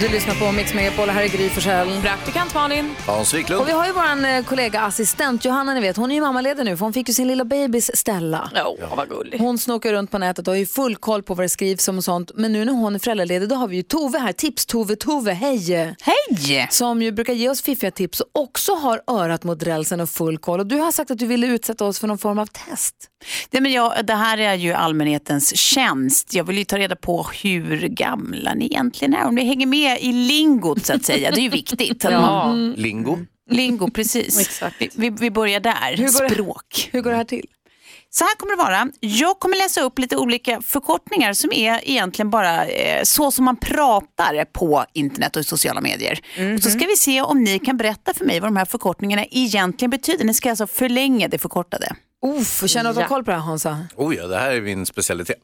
S1: Du lyssnar på Mix Megapol, här är Gry Forssell.
S12: Praktikant Malin.
S2: Hans Wiklund.
S1: Och vi har ju vår eh, kollega assistent Johanna, ni vet, hon är ju mammaledig nu för hon fick ju sin lilla bebis Stella.
S12: Ja, vad gullig.
S1: Hon snokar runt på nätet och har ju full koll på vad det skrivs om och sånt. Men nu när hon är föräldraledig då har vi ju Tove här, Tips-Tove. Tove, hej!
S7: Hej!
S1: Som ju brukar ge oss fiffiga tips och också har örat mot rälsen och full koll. Och du har sagt att du ville utsätta oss för någon form av test.
S7: Nej, men jag, det här är ju allmänhetens tjänst. Jag vill ju ta reda på hur gamla ni egentligen är. Om ni hänger med i lingot så att säga. Det är ju viktigt. Mm. Att man-
S2: Lingo.
S7: Lingo, precis. Vi, vi, vi börjar där.
S1: Mm, Hur går det-
S7: Språk.
S1: hur går det här till?
S7: Så här kommer det vara. Jag kommer läsa upp lite olika förkortningar som är egentligen bara eh, så som man pratar på internet och i sociala medier. Och så
S1: Mhm.
S7: ska vi se om ni kan berätta för mig vad de här förkortningarna egentligen betyder. Ni ska alltså förlänga det förkortade.
S1: Uff, känner att du har koll på det här Hansa?
S2: Oh ja, det här är min specialitet.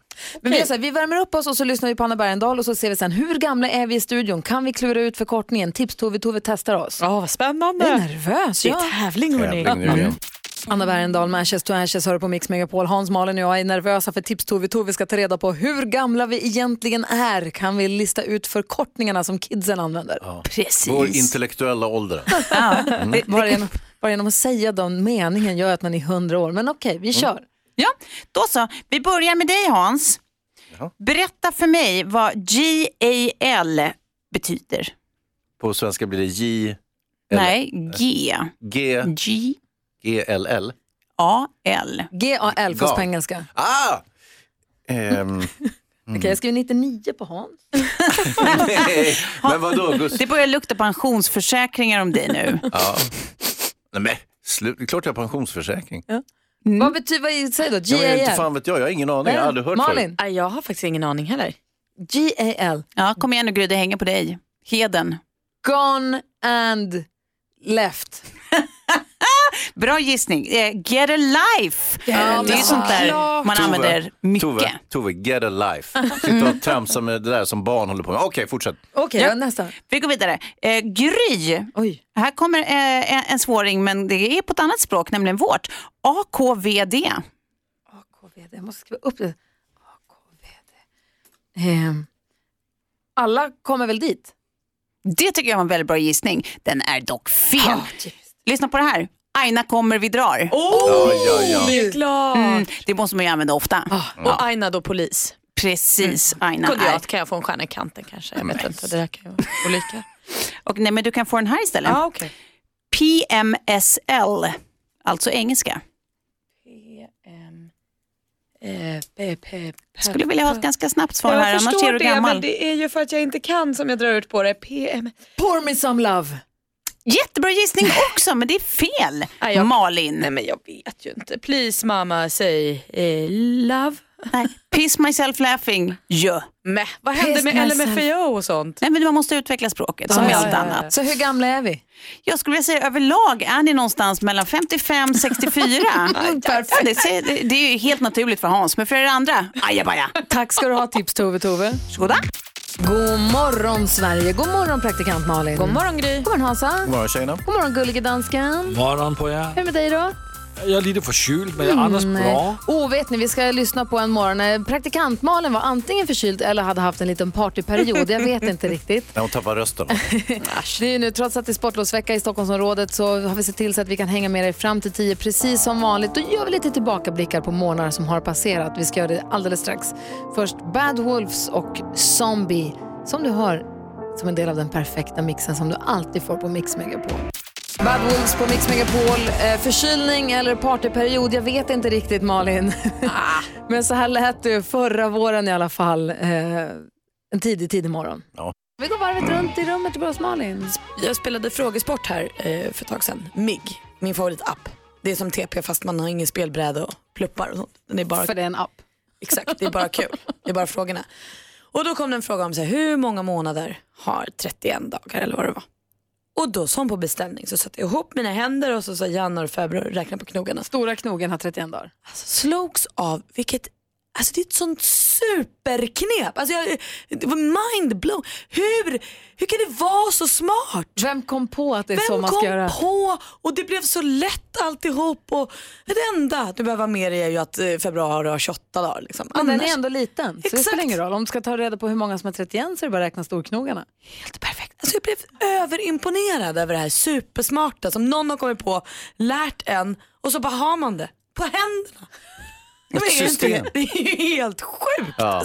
S1: Men vi, gör så här, vi värmer upp oss och så lyssnar vi på Anna Bergendahl och så ser vi sen hur gamla är vi i studion? Kan vi klura ut förkortningen? Tips Tove, Tove testar oss.
S12: Ja, vad spännande.
S1: Jag är nervös.
S12: Det är
S1: ja.
S12: tävling, hörni. Mm.
S1: Tävling nu
S12: igen.
S1: Anna Bergendahl, Manchester to Ashes, hör du på Mix Megapol. Hans, Malin och jag är nervösa för Tips Tove. Tove ska ta reda på hur gamla vi egentligen är. Kan vi lista ut förkortningarna som kidsen använder?
S7: Precis.
S2: Vår intellektuella ålder.
S1: Mm. Bara, genom, bara genom att säga den meningen gör att man är hundra år. Men okej, vi kör.
S7: Ja, då så. Vi börjar med dig Hans. Berätta för mig vad GAL betyder.
S2: På svenska blir det J...
S7: Nej, G.
S2: G...
S7: G...
S2: G-L-L.
S7: A-L.
S1: G-A-L, fast
S2: Gal.
S1: på engelska.
S2: Ah! Ehm,
S1: Okej, jag skriver 99 på Hans.
S2: nej, men vadå Gust?
S7: Det börjar lukta pensionsförsäkringar om dig nu.
S2: Ja. Nej, men slut. Det är klart jag har pensionsförsäkring.
S7: Mm.
S1: Vad betyder, vad säger du då?
S2: Ja, men inte
S1: G-A-L?
S2: fan vet jag, jag har ingen aning. Jag har aldrig hört förut.
S12: Nej, Jag har faktiskt ingen aning heller.
S1: G-A-L.
S7: Ja, kom igen nu Gry, det hänger på dig. Heden.
S1: Gone and left.
S7: Bra gissning. Eh, Get a life. det är ju sånt där man använder mycket.
S2: Tove, Tove, get a life. Sitta och tramsa med det där som barn håller på med. Okej, fortsätt.
S1: Okej,
S7: Ja.
S1: nästa.
S7: Vi går vidare. Eh, gry. Här kommer eh, en, en svåring, men det är på ett annat språk, nämligen vårt. AKVD.
S1: Jag måste skriva upp det. Ehm, alla kommer väl dit?
S7: Det tycker jag var en väldigt bra gissning. Den är dock fel. Lyssna på det här. Aina kommer, vi drar.
S12: Ah, Oh, Ja, ja, ja. det är klart. Ah,
S7: Mm, det måste man ju använda ofta.
S12: Och Aina då polis.
S7: Precis, Aina
S12: Kunde
S7: är-
S12: jag, kan jag få en stjärna i kanten kanske? Jag vet inte, det där kan ju vara olika.
S7: Och, nej, men du kan få den här istället.
S12: Ah, okay.
S7: PMSL, alltså engelska. Skulle vilja ha ett ganska snabbt svar här,
S12: jag
S7: annars är
S12: förstår
S7: du
S12: det,
S7: gammal.
S12: men det är ju för att jag inte kan som jag drar ut på det. PM.
S1: Pour me some love.
S7: Jättebra gissning också, men det är fel.
S12: jag-
S7: Malin.
S12: Nej, men jag vet ju inte. Please mamma, säg eh, love.
S7: Nej, piss myself laughing, ja.
S12: Mäh, vad hände
S7: Piss
S12: med
S7: myself.
S12: LMFAO och sånt?
S7: Nej, men man måste utveckla språket som
S12: Ja,
S7: med
S12: ja,
S7: allt
S12: ja, ja.
S7: annat.
S1: Så hur gamla är vi?
S7: Jag skulle vilja säga överlag är ni någonstans mellan 55 64. ja, det, säger- det- det är ju helt naturligt för Hans, men för er andra, ajabaja.
S1: Tack ska du ha tips Tove Tove.
S7: Skoda.
S1: God morgon Sverige, god morgon praktikant Malin.
S12: God morgon, Gry.
S1: God morgon Hansa.
S16: Godmorgen, tjejerna.
S1: God morgon gullige dansken.
S16: Morgen på jer.
S1: Hur är det med dig då?
S16: Jeg er lidt forkylet, men jeg er Anders bra.
S1: Oh, vet ni, vi ska lyssna på en morgon när praktikant Malin var antingen förkyld eller hade haft en liten partyperiod. Jag vet inte riktigt.
S2: Nej, hon tappar rösten. va?
S1: Det är ju nu, trots att det är sportlovsvecka i Stockholmsområdet så har vi sett till så att vi kan hänga med er fram till 10 precis som vanligt. Då gör vi lite tillbakablickar på månader som har passerat. Vi ska göra det alldeles strax. Först Bad Wolves och Zombie som du hör som en del av den perfekta mixen som du alltid får på Mix Megapol. Bad Wolves på Mix Megapol. Eh, förkylning eller partyperiod, jag vet inte riktigt Malin. Men så här lät det förra våren i alla fall. Eh, en tidig, tidig morgon. Vi går varvet runt i rummet till oss Malin.
S5: Jag spelade frågesport här eh, för ett tag sedan. MIG, min favoritapp. Det är som TP fast man har ingen spelbräda och pluppar och sånt. Det är bara... För
S12: det är en app.
S5: Exakt, det är bara kul. Det är bara frågorna. Och då kom det en fråga om så här, hur många månader har 31 dagar eller vad det var. Och då som på beställning så satte jag ihop mina händer och så sa januari, februari räkna på knogarna.
S12: Stora knogen har 31 dagar.
S5: Alltså, slogs av vilket Alltså det är ett sånt superknep. Alltså jag, det var mindblown. Hur, hur kan det vara så smart?
S1: Vem kom på att det är
S5: Vem
S1: så man ska
S5: kom
S1: göra?
S5: på? Och det blev så lätt alltihop. Och det enda du behöver ha med dig är ju att eh, februari har 28 dagar. Liksom.
S1: Men den
S5: Annars-
S1: är ändå liten, så det spelar ingen roll. Om du ska ta reda på hur många som har 31 så är det bara att räkna storknogarna.
S5: Alltså jag blev överimponerad över det här supersmarta som någon har kommit på, lärt en och så bara har man det på händerna. Det är ju inte-
S2: system.
S5: Det är ju helt sjukt.
S2: Ja.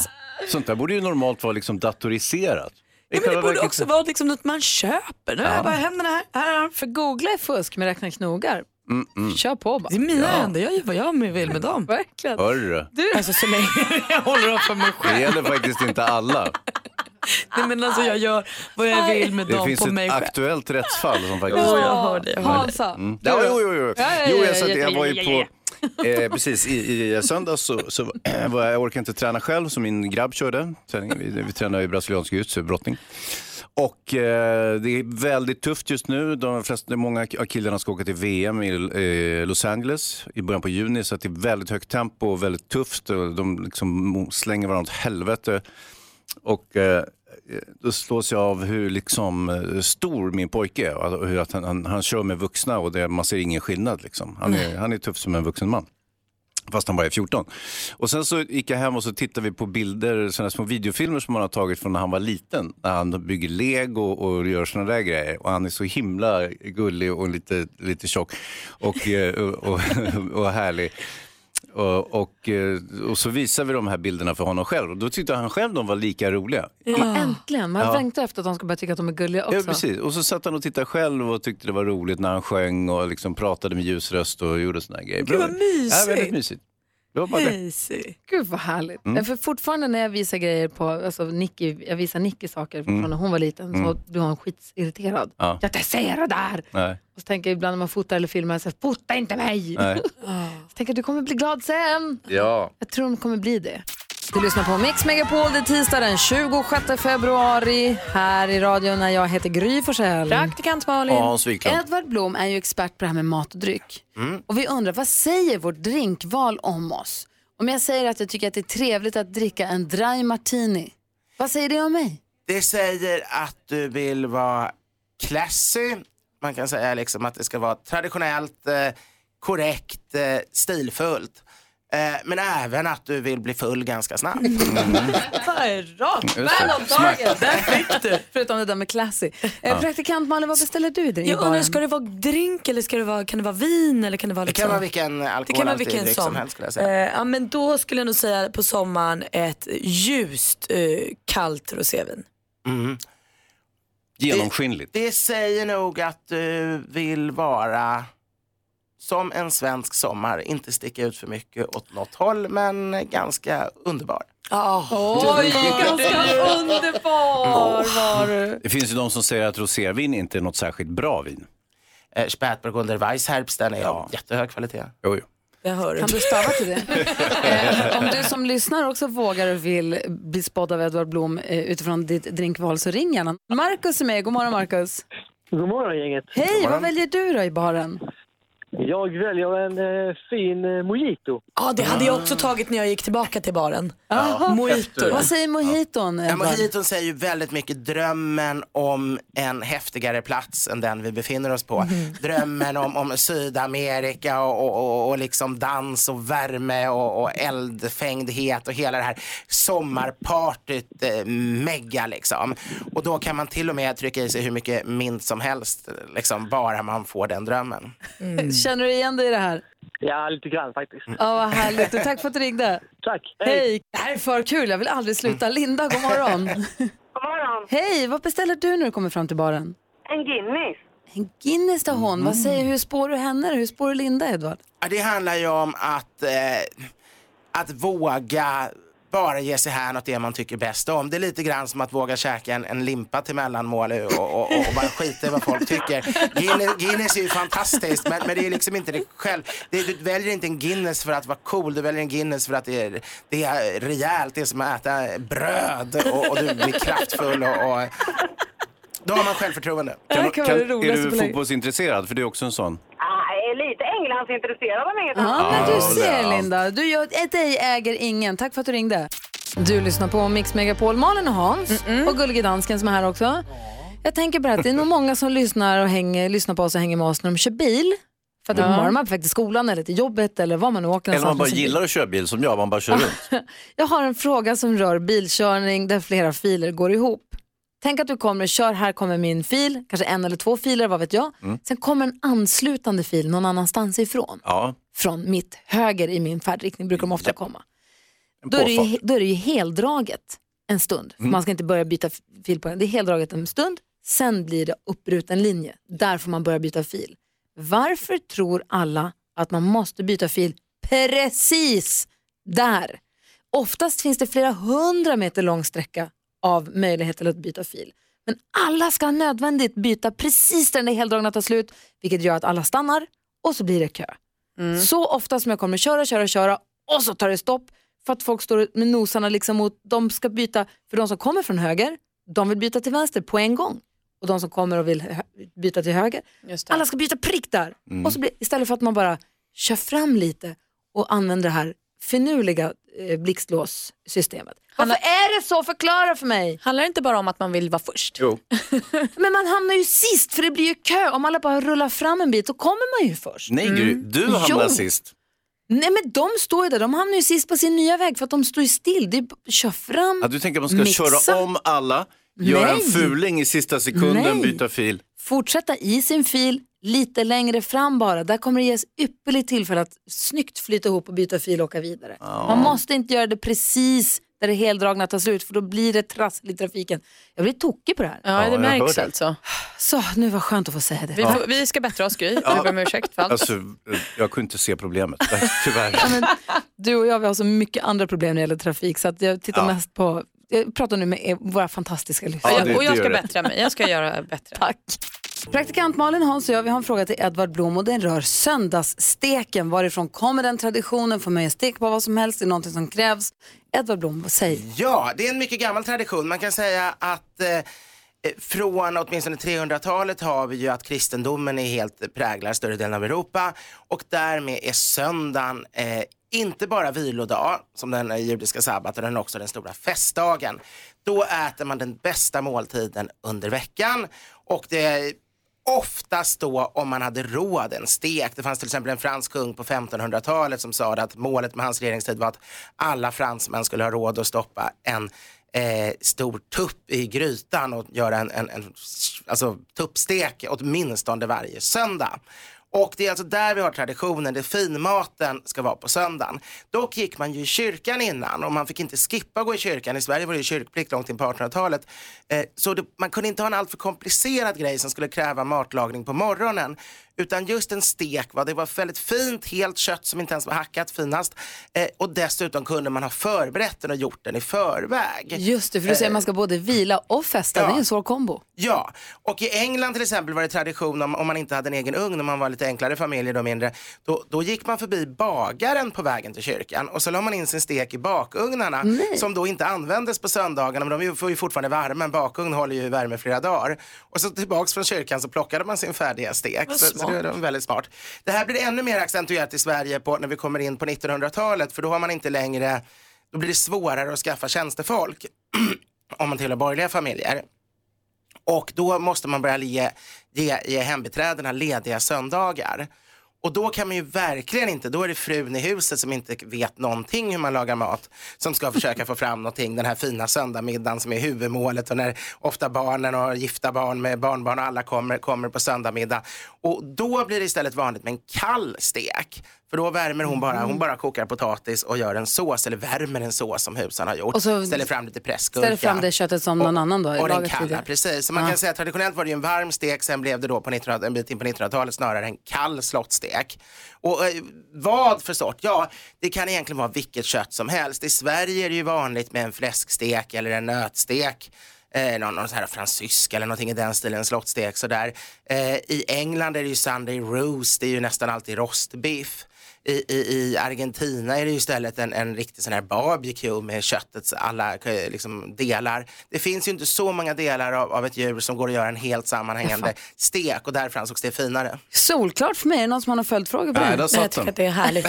S2: Sånt där borde ju normalt vara liksom datoriserat.
S5: Ja, men det borde också vara liksom något man köper. Nu har
S2: Ja.
S5: jag bara händerna här. här.
S1: För googla är fusk med räkna knogar.
S2: Mm, mm.
S1: Kör på bara.
S5: Det är mina händer, jag gör vad jag vill med dem.
S1: Verkligen.
S2: Hörru,
S1: Du.
S5: Alltså så länge jag håller dem för mig
S2: det
S5: själv.
S2: gäller faktiskt inte alla.
S5: Nej, men alltså jag gör vad jag vill med
S2: Det
S5: dem
S2: finns
S5: på mig
S2: ett
S5: själv.
S2: aktuellt rättsfall som faktiskt...
S5: Jo, jag hör det, jag hör det. Hansa.
S2: Mm. Ja, jo, jo, jo.
S5: Ja, ja, ja,
S2: jo
S5: ja,
S2: jag, satt,
S5: ja,
S2: jag
S5: ja,
S2: var ju
S5: ja,
S2: på... Eh, precis, i, i söndags så, så var jag, jag orkade inte träna själv så min grabb körde. Träningen. Vi, vi tränade ju brasiliansk jujutsu-brottning. Och eh, det är väldigt tufft just nu. De flesta, många av killarna ska åka till VM i eh, Los Angeles i början på juni. Så att det är väldigt högt tempo och väldigt tufft. Och de liksom mo- slänger varandra åt helvete. Och eh, då slås jag av hur liksom, eh, stor min pojke är. Och hur att han, han, han kör med vuxna och det, man ser ingen skillnad. Liksom. Han, är, han är tuff som en vuxen man. Fast han bara är 14. Och sen så gick jag hem och så tittade vi på bilder, sådana små videofilmer som han har tagit från när han var liten. När han bygger lego och gör sådana där grejer. Och han är så himla gullig och lite, lite tjock och, eh, och, och, och härlig. Och, och, eh, och så visade vi de här bilderna för honom själv och då tyckte han själv de var lika roliga.
S5: Ah.
S1: Ja. Äntligen, man
S2: Ja.
S1: längtar efter att de ska börja tycka att de är gulliga också.
S2: Ja, precis. Och så satt han och tittade själv och tyckte det var roligt när han sjöng och liksom pratade med ljusröst och gjorde såna här grejer.
S1: Gud, vad mysigt.
S2: Ja, väldigt mysigt. Det var bara det.
S1: Gud vad härligt.
S2: Mm.
S1: Ja, För fortfarande när jag visar grejer på, alltså Nicky, jag visar Nicky saker från
S2: Mm.
S1: när hon var liten
S2: Mm.
S1: så blev hon skitirriterad.
S2: Ja.
S1: Jag inte ser det där!
S2: Nej.
S1: Och så tänker jag ibland när man fotar eller filmar, så här, fota inte mig!
S2: Nej.
S1: så tänker jag, du kommer bli glad sen.
S2: Ja.
S1: Jag tror de kommer bli det. Du lyssnar på Mix Megapol, det är tisdag den 26 februari här i radion när jag heter Gry Forssell.
S12: Praktikant Malin.
S2: Hans Wiklund.
S12: Edvard Blom är ju expert på det här med mat och dryck.
S17: Mm.
S1: Och vi undrar, vad säger vårt drinkval om oss? Om jag säger att jag tycker att det är trevligt att dricka en dry martini, vad säger det om mig?
S17: Det säger att du vill vara classy. Man kan säga liksom att det ska vara traditionellt, eh, korrekt, eh, stilfullt. Eh, men även att du vill bli full ganska snabbt.
S1: Vad är rakt?
S17: Just det.
S1: Man om dagen!
S17: Smart.
S1: Där fick du! Förutom det där med classy. Eh,
S17: Ja.
S1: Praktikant Malin, vad beställer du i drinkbaren?
S5: Jag undrar, ska det vara drink eller ska det vara, kan det vara vin? Eller kan det, vara
S17: Det kan
S5: liksom...
S17: vara vilken
S5: Det kan vara
S17: alkoholhaltig
S5: vilken
S17: dryck som
S5: som.
S17: helst, skulle jag säga.
S5: Eh, ja, men då skulle jag nog säga på sommaren ett ljust eh, kallt rosévin.
S17: Mm.
S2: Genomskinligt.
S17: Det säger nog att du vill vara som en svensk sommar, inte sticka ut för mycket åt något håll, men ganska underbar.
S1: Ah. Oj, ganska underbar var du.
S2: Det finns ju de som säger att rosévin inte är något särskilt bra vin.
S17: Eh, Spätburgunder Weissherbst, den är av jättehög kvalitet.
S2: Jo, jo.
S5: Jag hör
S1: Kan du stava till det? eh, om du som lyssnar också vågar och vill bli spådd av Edvard Blom eh, utifrån ditt drinkval så ring gärna. Markus är med. God morgon Markus.
S18: God morgon gänget.
S1: Hej, vad väljer du då i baren?
S18: Jag väljer en eh, fin eh, mojito.
S5: Ja, det hade
S17: Ah.
S5: jag också tagit när jag gick tillbaka till baren. Mojito.
S1: Vad säger eh, mojiton?
S17: Ja,
S1: Edvard?
S17: mojiton säger ju väldigt mycket drömmen om en häftigare plats än den vi befinner oss på.
S1: Mhm.
S17: Drömmen om, om Sydamerika och, och, och, och liksom dans och värme och, och eldfängdhet och hela det här sommarpartyt eh, mega liksom. Och då kan man till och med trycka i sig hur mycket mint som helst, liksom, bara man får den drömmen.
S1: Känner du igen dig i det här?
S17: Ja, lite grann faktiskt.
S1: Ja, vad härligt. Och tack för att du ringde.
S18: Tack.
S1: Hej. Det här är för kul. Jag vill aldrig sluta. Linda, god morgon.
S19: God morgon.
S1: Hej, vad beställer du när du kommer fram till baren?
S19: En Guinness.
S1: En Guinness tar hon. Vad säger, hur spår du henne? Hur spår du Linda, Edvard?
S17: Ja, det handlar ju om att, eh, att våga bara ge sig hän åt det man tycker bäst om. Det är lite grann som att våga käka en, en limpa till mellanmål och, och, och, och bara skita i vad folk tycker. Guinness, Guinness är ju fantastiskt men, men det är liksom inte det själv. Det, du väljer inte en Guinness för att vara cool, du väljer en Guinness för att det är, det är rejält, det är som att äta bröd och, och du blir kraftfull och, och då har man självförtroende.
S2: Kan- kan- är du fotbollsintresserad? För det är också en sån.
S19: Nej, Ah, lite Englandsintresserad om inget
S1: Ja, men du ser
S2: Ja.
S1: Linda. Du gör ett ej äger ingen. Tack för att du ringde. Du lyssnar på Mix Megapol, Malin och Hans och Gullige Dansken som är här också. Jag tänker på det här, att det är nog många som lyssnar, och hänger, lyssnar på oss och hänger med oss när de kör bil. För att det
S2: Mm.
S1: är man på väg till skolan eller till jobbet eller var man nu åker.
S2: Eller man
S1: någonstans
S2: bara
S1: med sin bil.
S2: gillar att köra bil som jag, man bara
S1: Ah.
S2: kör runt.
S1: Jag har en fråga som rör bilkörning där flera filer går ihop. Tänk att du kommer och kör, här kommer min fil, kanske en eller två filer, vad vet jag.
S2: Mm.
S1: Sen kommer en anslutande fil någon annanstans ifrån.
S2: Ja.
S1: Från mitt höger i min färdriktning brukar de ofta komma.
S2: En
S1: Då är, det ju,
S2: påfart.
S1: då är det ju heldraget en stund. För
S2: Mm.
S1: Man ska inte börja byta f- fil på den. Det är heldraget en stund, sen blir det uppbruten linje. Där får man börja byta fil. Varför tror alla att man måste byta fil precis där? Oftast finns det flera hundra meter lång sträcka av möjlighet till att byta fil. Men alla ska nödvändigt byta precis där den där heldragna tar slut, vilket gör att alla stannar och så blir det kö. Så ofta som jag kommer köra, köra, köra och så tar det stopp för att folk står med nosarna liksom mot, de ska byta, för de som kommer från höger, de vill byta till vänster på en gång. Och de som kommer och vill hö- byta till höger, alla ska byta prick där.
S12: Mm.
S1: Och så blir, istället för att man bara kör fram lite och använder det här finurliga eh, blixtlåssystemet. Varför är det så? Förklara för mig.
S12: Handlar det inte bara om att man vill vara först?
S2: Jo.
S1: Men man hamnar ju sist för det blir ju kö. Om alla bara rullar fram en bit så kommer man ju först.
S2: Nej, Gry,
S12: Mm.
S2: du hamnar
S1: Mm. Jo.
S2: sist.
S1: Nej men de står ju där, de hamnar ju sist på sin nya väg för att de står ju still. Det är b- kör fram,
S2: Ja, du tänker att man ska
S1: mixa,
S2: köra om alla, göra en
S1: Nej.
S2: fuling i sista sekunden,
S1: Nej.
S2: byta fil.
S1: fortsätta i sin fil, lite längre fram bara. Där kommer det ges ypperligt tillfälle att snyggt flyta ihop och byta fil och åka vidare. Man måste inte göra det precis där det heldragna tar slut för då blir det trassel i trafiken. Jag blir tokig på det här.
S12: Ja, det märks alltså.
S1: Så, nu var skönt att få säga det.
S12: Vi, får, vi ska bättra oss Gry,
S2: Ja.
S12: jag ber om ursäkt för allt.
S2: Alltså, eh, jag kunde inte se problemet, tyvärr.
S1: Ja, men, du och jag vi har så mycket andra problem när det gäller trafik så att jag tittar
S2: Ja.
S1: mest på, jag pratar nu med er, våra fantastiska lyssnare.
S12: Ja, jag, och jag ska bättra mig, jag ska göra bättre.
S1: Tack. Praktikant Malin, Hans och jag vi har en fråga till Edvard Blom och den rör söndagssteken. Varifrån kommer den traditionen? Får man göra stek på vad som helst? Det är någonting som krävs. Edvard Blom, säg.
S17: Ja, det är en mycket gammal tradition. Man kan säga att eh, eh, från åtminstone 300-talet har vi ju att kristendomen är helt präglar större delen av Europa och därmed är söndagen eh, inte bara vilodag som den eh, judiska sabbaten, den är också den stora festdagen. Då äter man den bästa måltiden under veckan och det oftast då om man hade råd en stek. Det fanns till exempel en fransk kung på 1500-talet som sa att målet med hans regeringstid var att alla fransmän skulle ha råd att stoppa en eh, stor tupp i grytan och göra en, en, en alltså, tuppstek åtminstone varje söndag. Och det är alltså där vi har traditionen, det finmaten ska vara på söndagen. Dock gick man ju i kyrkan innan och man fick inte skippa att gå i kyrkan. I Sverige var det ju kyrkplikt långt in på 1800-talet. Eh, så det, man kunde inte ha en alltför komplicerad grej som skulle kräva matlagning på morgonen. Utan just en stek, va? det var väldigt fint, helt kött som inte ens var hackat, finast. Eh, och dessutom kunde man ha förberett den och gjort den i förväg.
S1: Just det, för du säger att man ska både vila och festa.
S17: Eh. ja.
S1: Det är en svår kombo.
S17: Ja, och i England till exempel var det tradition om, om man inte hade en egen ugn, om man var lite enklare familjer då mindre, då, då gick man förbi bagaren på vägen till kyrkan och så la man in sin stek i bakugnarna som då inte användes på söndagarna, men de är ju- får ju fortfarande värme, en bakugn håller ju i värme flera dagar. Och så tillbaks från kyrkan så plockade man sin färdiga stek.
S4: Vad
S17: Så, så det
S4: smart.
S17: var väldigt smart. Det här blir ännu mer accentuerat i Sverige på, när vi kommer in på 1900-talet, för då har man inte längre, då blir det svårare att skaffa tjänstefolk om man tillhör borgerliga familjer. Och då måste man börja ge, ge, ge hembiträdena lediga söndagar. Och då kan man ju verkligen inte, då är det frun i huset som inte vet någonting hur man lagar mat som ska försöka få fram någonting den här fina söndagsmiddagen som är huvudmålet och när ofta barnen och gifta barn med barnbarn och alla kommer, kommer på söndagsmiddag. Och då blir det istället vanligt med en kall stek. För då värmer hon bara, hon bara kokar potatis och gör en sås eller värmer en sås som husan har gjort.
S1: Och så
S17: ställer fram lite pressgurka.
S1: Ställ fram det köttet som någon annan då.
S17: Och den
S1: lagat
S17: kalla,
S1: tidigare.
S17: precis. Så man
S1: Ja.
S17: kan säga att traditionellt var det ju en varm stek, sen blev det då på 1900, en bit in på 1900-talet snarare en kall slottsstek. kärlek. Och eh, vad för sort? Ja, det kan egentligen vara vilket kött som helst. I Sverige är det ju vanligt med en fläskstek eller en nötstek. Eh, någon, någon sån här fransysk eller någonting i den stilen, en slottstek sådär. Eh, I England är det ju Sunday roast, det är ju nästan alltid rostbiff. I, i, I Argentina är det ju istället en, en riktig sån här barbecue med köttets alla eh, liksom, delar. Det finns ju inte så många delar av, av ett djur som går att göra en helt sammanhängande stek och därför ansågs det finare.
S1: Solklart för mig. Är det någon som har någon följdfråga på
S17: Nej,
S1: det?
S17: där satt
S12: Jag tycker
S17: den.
S12: att det är härligt.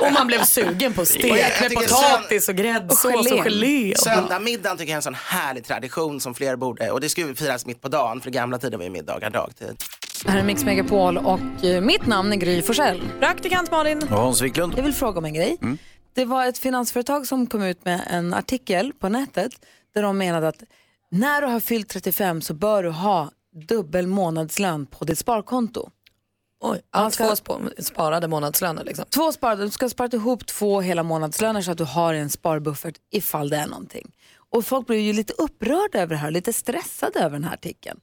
S12: och man blev sugen på stek
S17: Och jag- jag
S12: med
S17: tycker
S12: potatis
S17: sönd-
S12: och gräddsås och gelé.
S17: Söndagsmiddagen tycker jag är en sån härlig tradition som fler borde, och det skulle firas mitt på dagen för i gamla tider var ju middagar dagtid.
S1: Här är Mix Megapol och eh, mitt namn är Gry Forssell.
S12: Praktikant Malin.
S2: Och Hans Wiklund.
S1: Jag vill fråga om en grej.
S2: Mm.
S1: Det var ett finansföretag som kom ut med en artikel på nätet där de menade att när du har fyllt 35 så bör du ha dubbel månadslön på ditt sparkonto.
S12: Oj,
S1: Man ska-
S12: två sp- sparade månadslöner liksom.
S1: Två sparade, du ska spara ihop två hela månadslöner så att du har en sparbuffert ifall det är någonting. Och folk blir ju lite upprörda över det här, lite stressade över den här artikeln.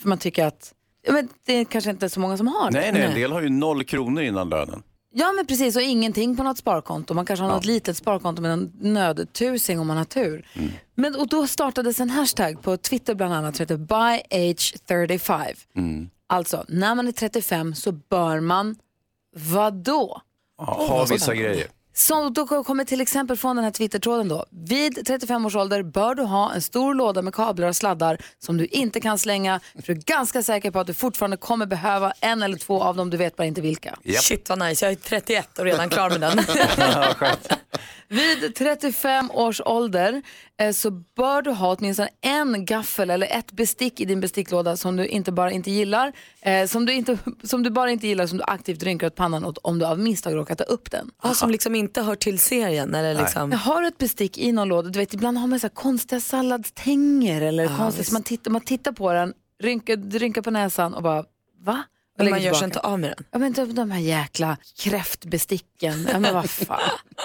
S1: För man tycker att ja, men det är kanske inte så många som har det.
S2: Nej, nej, en del har ju noll kronor innan lönen.
S1: Ja men precis och ingenting på något sparkonto. Man kanske har något litet sparkonto med en nödtusing om man har tur. Men, och då startades en hashtag på Twitter bland annat som heter BuyAge35.
S2: Mm.
S1: Alltså när man är 35 så bör man vadå?
S2: Ja, har vissa grejer.
S1: Så då kommer till exempel från den här twittertråden då. Vid 35 års ålder bör du ha en stor låda med kablar och sladdar som du inte kan slänga. För du är ganska säker på att du fortfarande kommer behöva en eller två av dem, du vet bara inte vilka.
S12: Shit vad nice, jag är 31 och redan klar med den.
S1: Vid 35 års ålder eh, så bör du ha åtminstone en gaffel eller ett bestick i din besticklåda som du inte bara inte gillar, eh, som, du inte, som du bara inte gillar som du aktivt rynkar åt pannan åt om du av misstag råkat ta upp den.
S12: Ja, som liksom inte hör till serien eller
S1: Nej.
S12: liksom.
S1: Jag har ett bestick i någon låda, du vet ibland har man så här konstiga salladstänger eller konstigt, så man tittar, man tittar på den, rynkar, rynkar på näsan och bara va? Och
S12: Men
S1: lägger
S12: man gör sig
S1: tillbaka.
S12: inte av med den.
S1: Ja men de, de här jäkla kräftbesticken, ja men vad fan.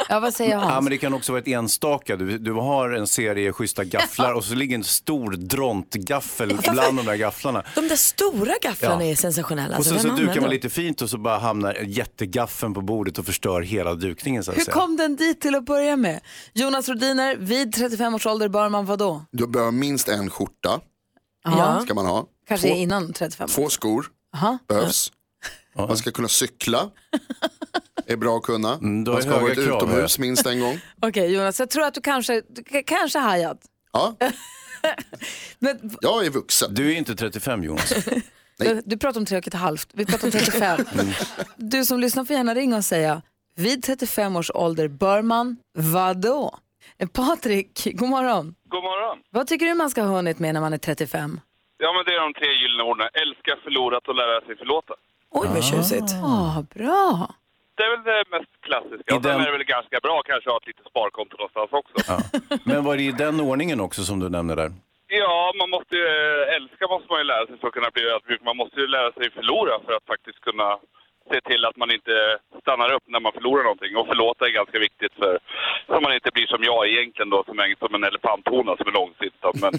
S1: Ja vad säger Hans?
S2: Ja, men det kan också vara ett enstaka. Du, du har en serie schyssta gafflar och så ligger en stor drontgaffel bland de där gafflarna.
S1: Alltså,
S12: De där stora gafflarna
S2: Ja.
S12: är sensationella.
S2: Och
S12: Alltså,
S2: sen så
S12: vem
S2: dukar
S12: använder
S2: man
S12: dem?
S2: lite fint och så bara hamnar jättegaffeln på bordet och förstör hela dukningen. Så att
S1: Hur
S2: säga.
S1: kom den dit till att börja med? Jonas Rodiner, vid 35 års ålder bör man vadå?
S8: Du behöver minst en skjorta.
S1: Ja.
S8: Ska man ha.
S1: Kanske
S8: två,
S1: innan 35?
S8: två skor
S1: Aha.
S8: behövs. Man ska kunna cykla. är bra att kunna.
S2: Mm, då
S8: man
S2: är
S8: ska ha
S2: höga
S8: varit
S2: krav,
S8: utomhus
S2: ja.
S8: minst en gång.
S1: Okej Jonas, jag tror att du kanske, du k- kanske hajat.
S8: Ja.
S1: Men,
S8: Jag är vuxen.
S2: Du är inte 35 Jonas.
S1: du, du pratar om tre och ett halvt, vi pratar om 35. Du som lyssnar får gärna ringa och säga, vid 35 års ålder bör man vadå? Eh, Patrik, god morgon.
S20: God morgon.
S1: Vad tycker du man ska ha hunnit med när man är 35?
S20: Ja, men det är de tre gyllene orden. Älska, förlorat och lära sig förlåta.
S12: Oj vad tjusigt.
S1: Ah, bra.
S20: Det är väl det mest klassiska. Och sen är det väl ganska bra kanske att ha ett litet sparkonto någonstans också.
S2: Ja. Men var det i den ordningen också som du nämnde där?
S20: Ja, man måste ju eh, älska måste man ju lära sig för att kunna bli ödmjuk. Man måste ju lära sig förlora för att faktiskt kunna se till att man inte stannar upp när man förlorar någonting. Och förlåta är ganska viktigt för så man inte blir som jag egentligen då, som är som en elefanthona som är långsintad. Men,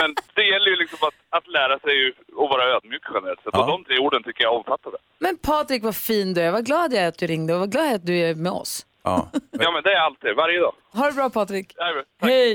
S20: men det gäller ju liksom att, att lära sig och vara ödmjuk generellt sett. Och de tre orden tycker jag omfattar det.
S1: Men Patrik, vad fin du är. Vad glad jag är att du ringde och vad glad jag är att du är med oss.
S2: Ja,
S20: ja men det är alltid, varje dag.
S1: Ha det bra Patrik.
S20: Det är bra.
S1: Hej!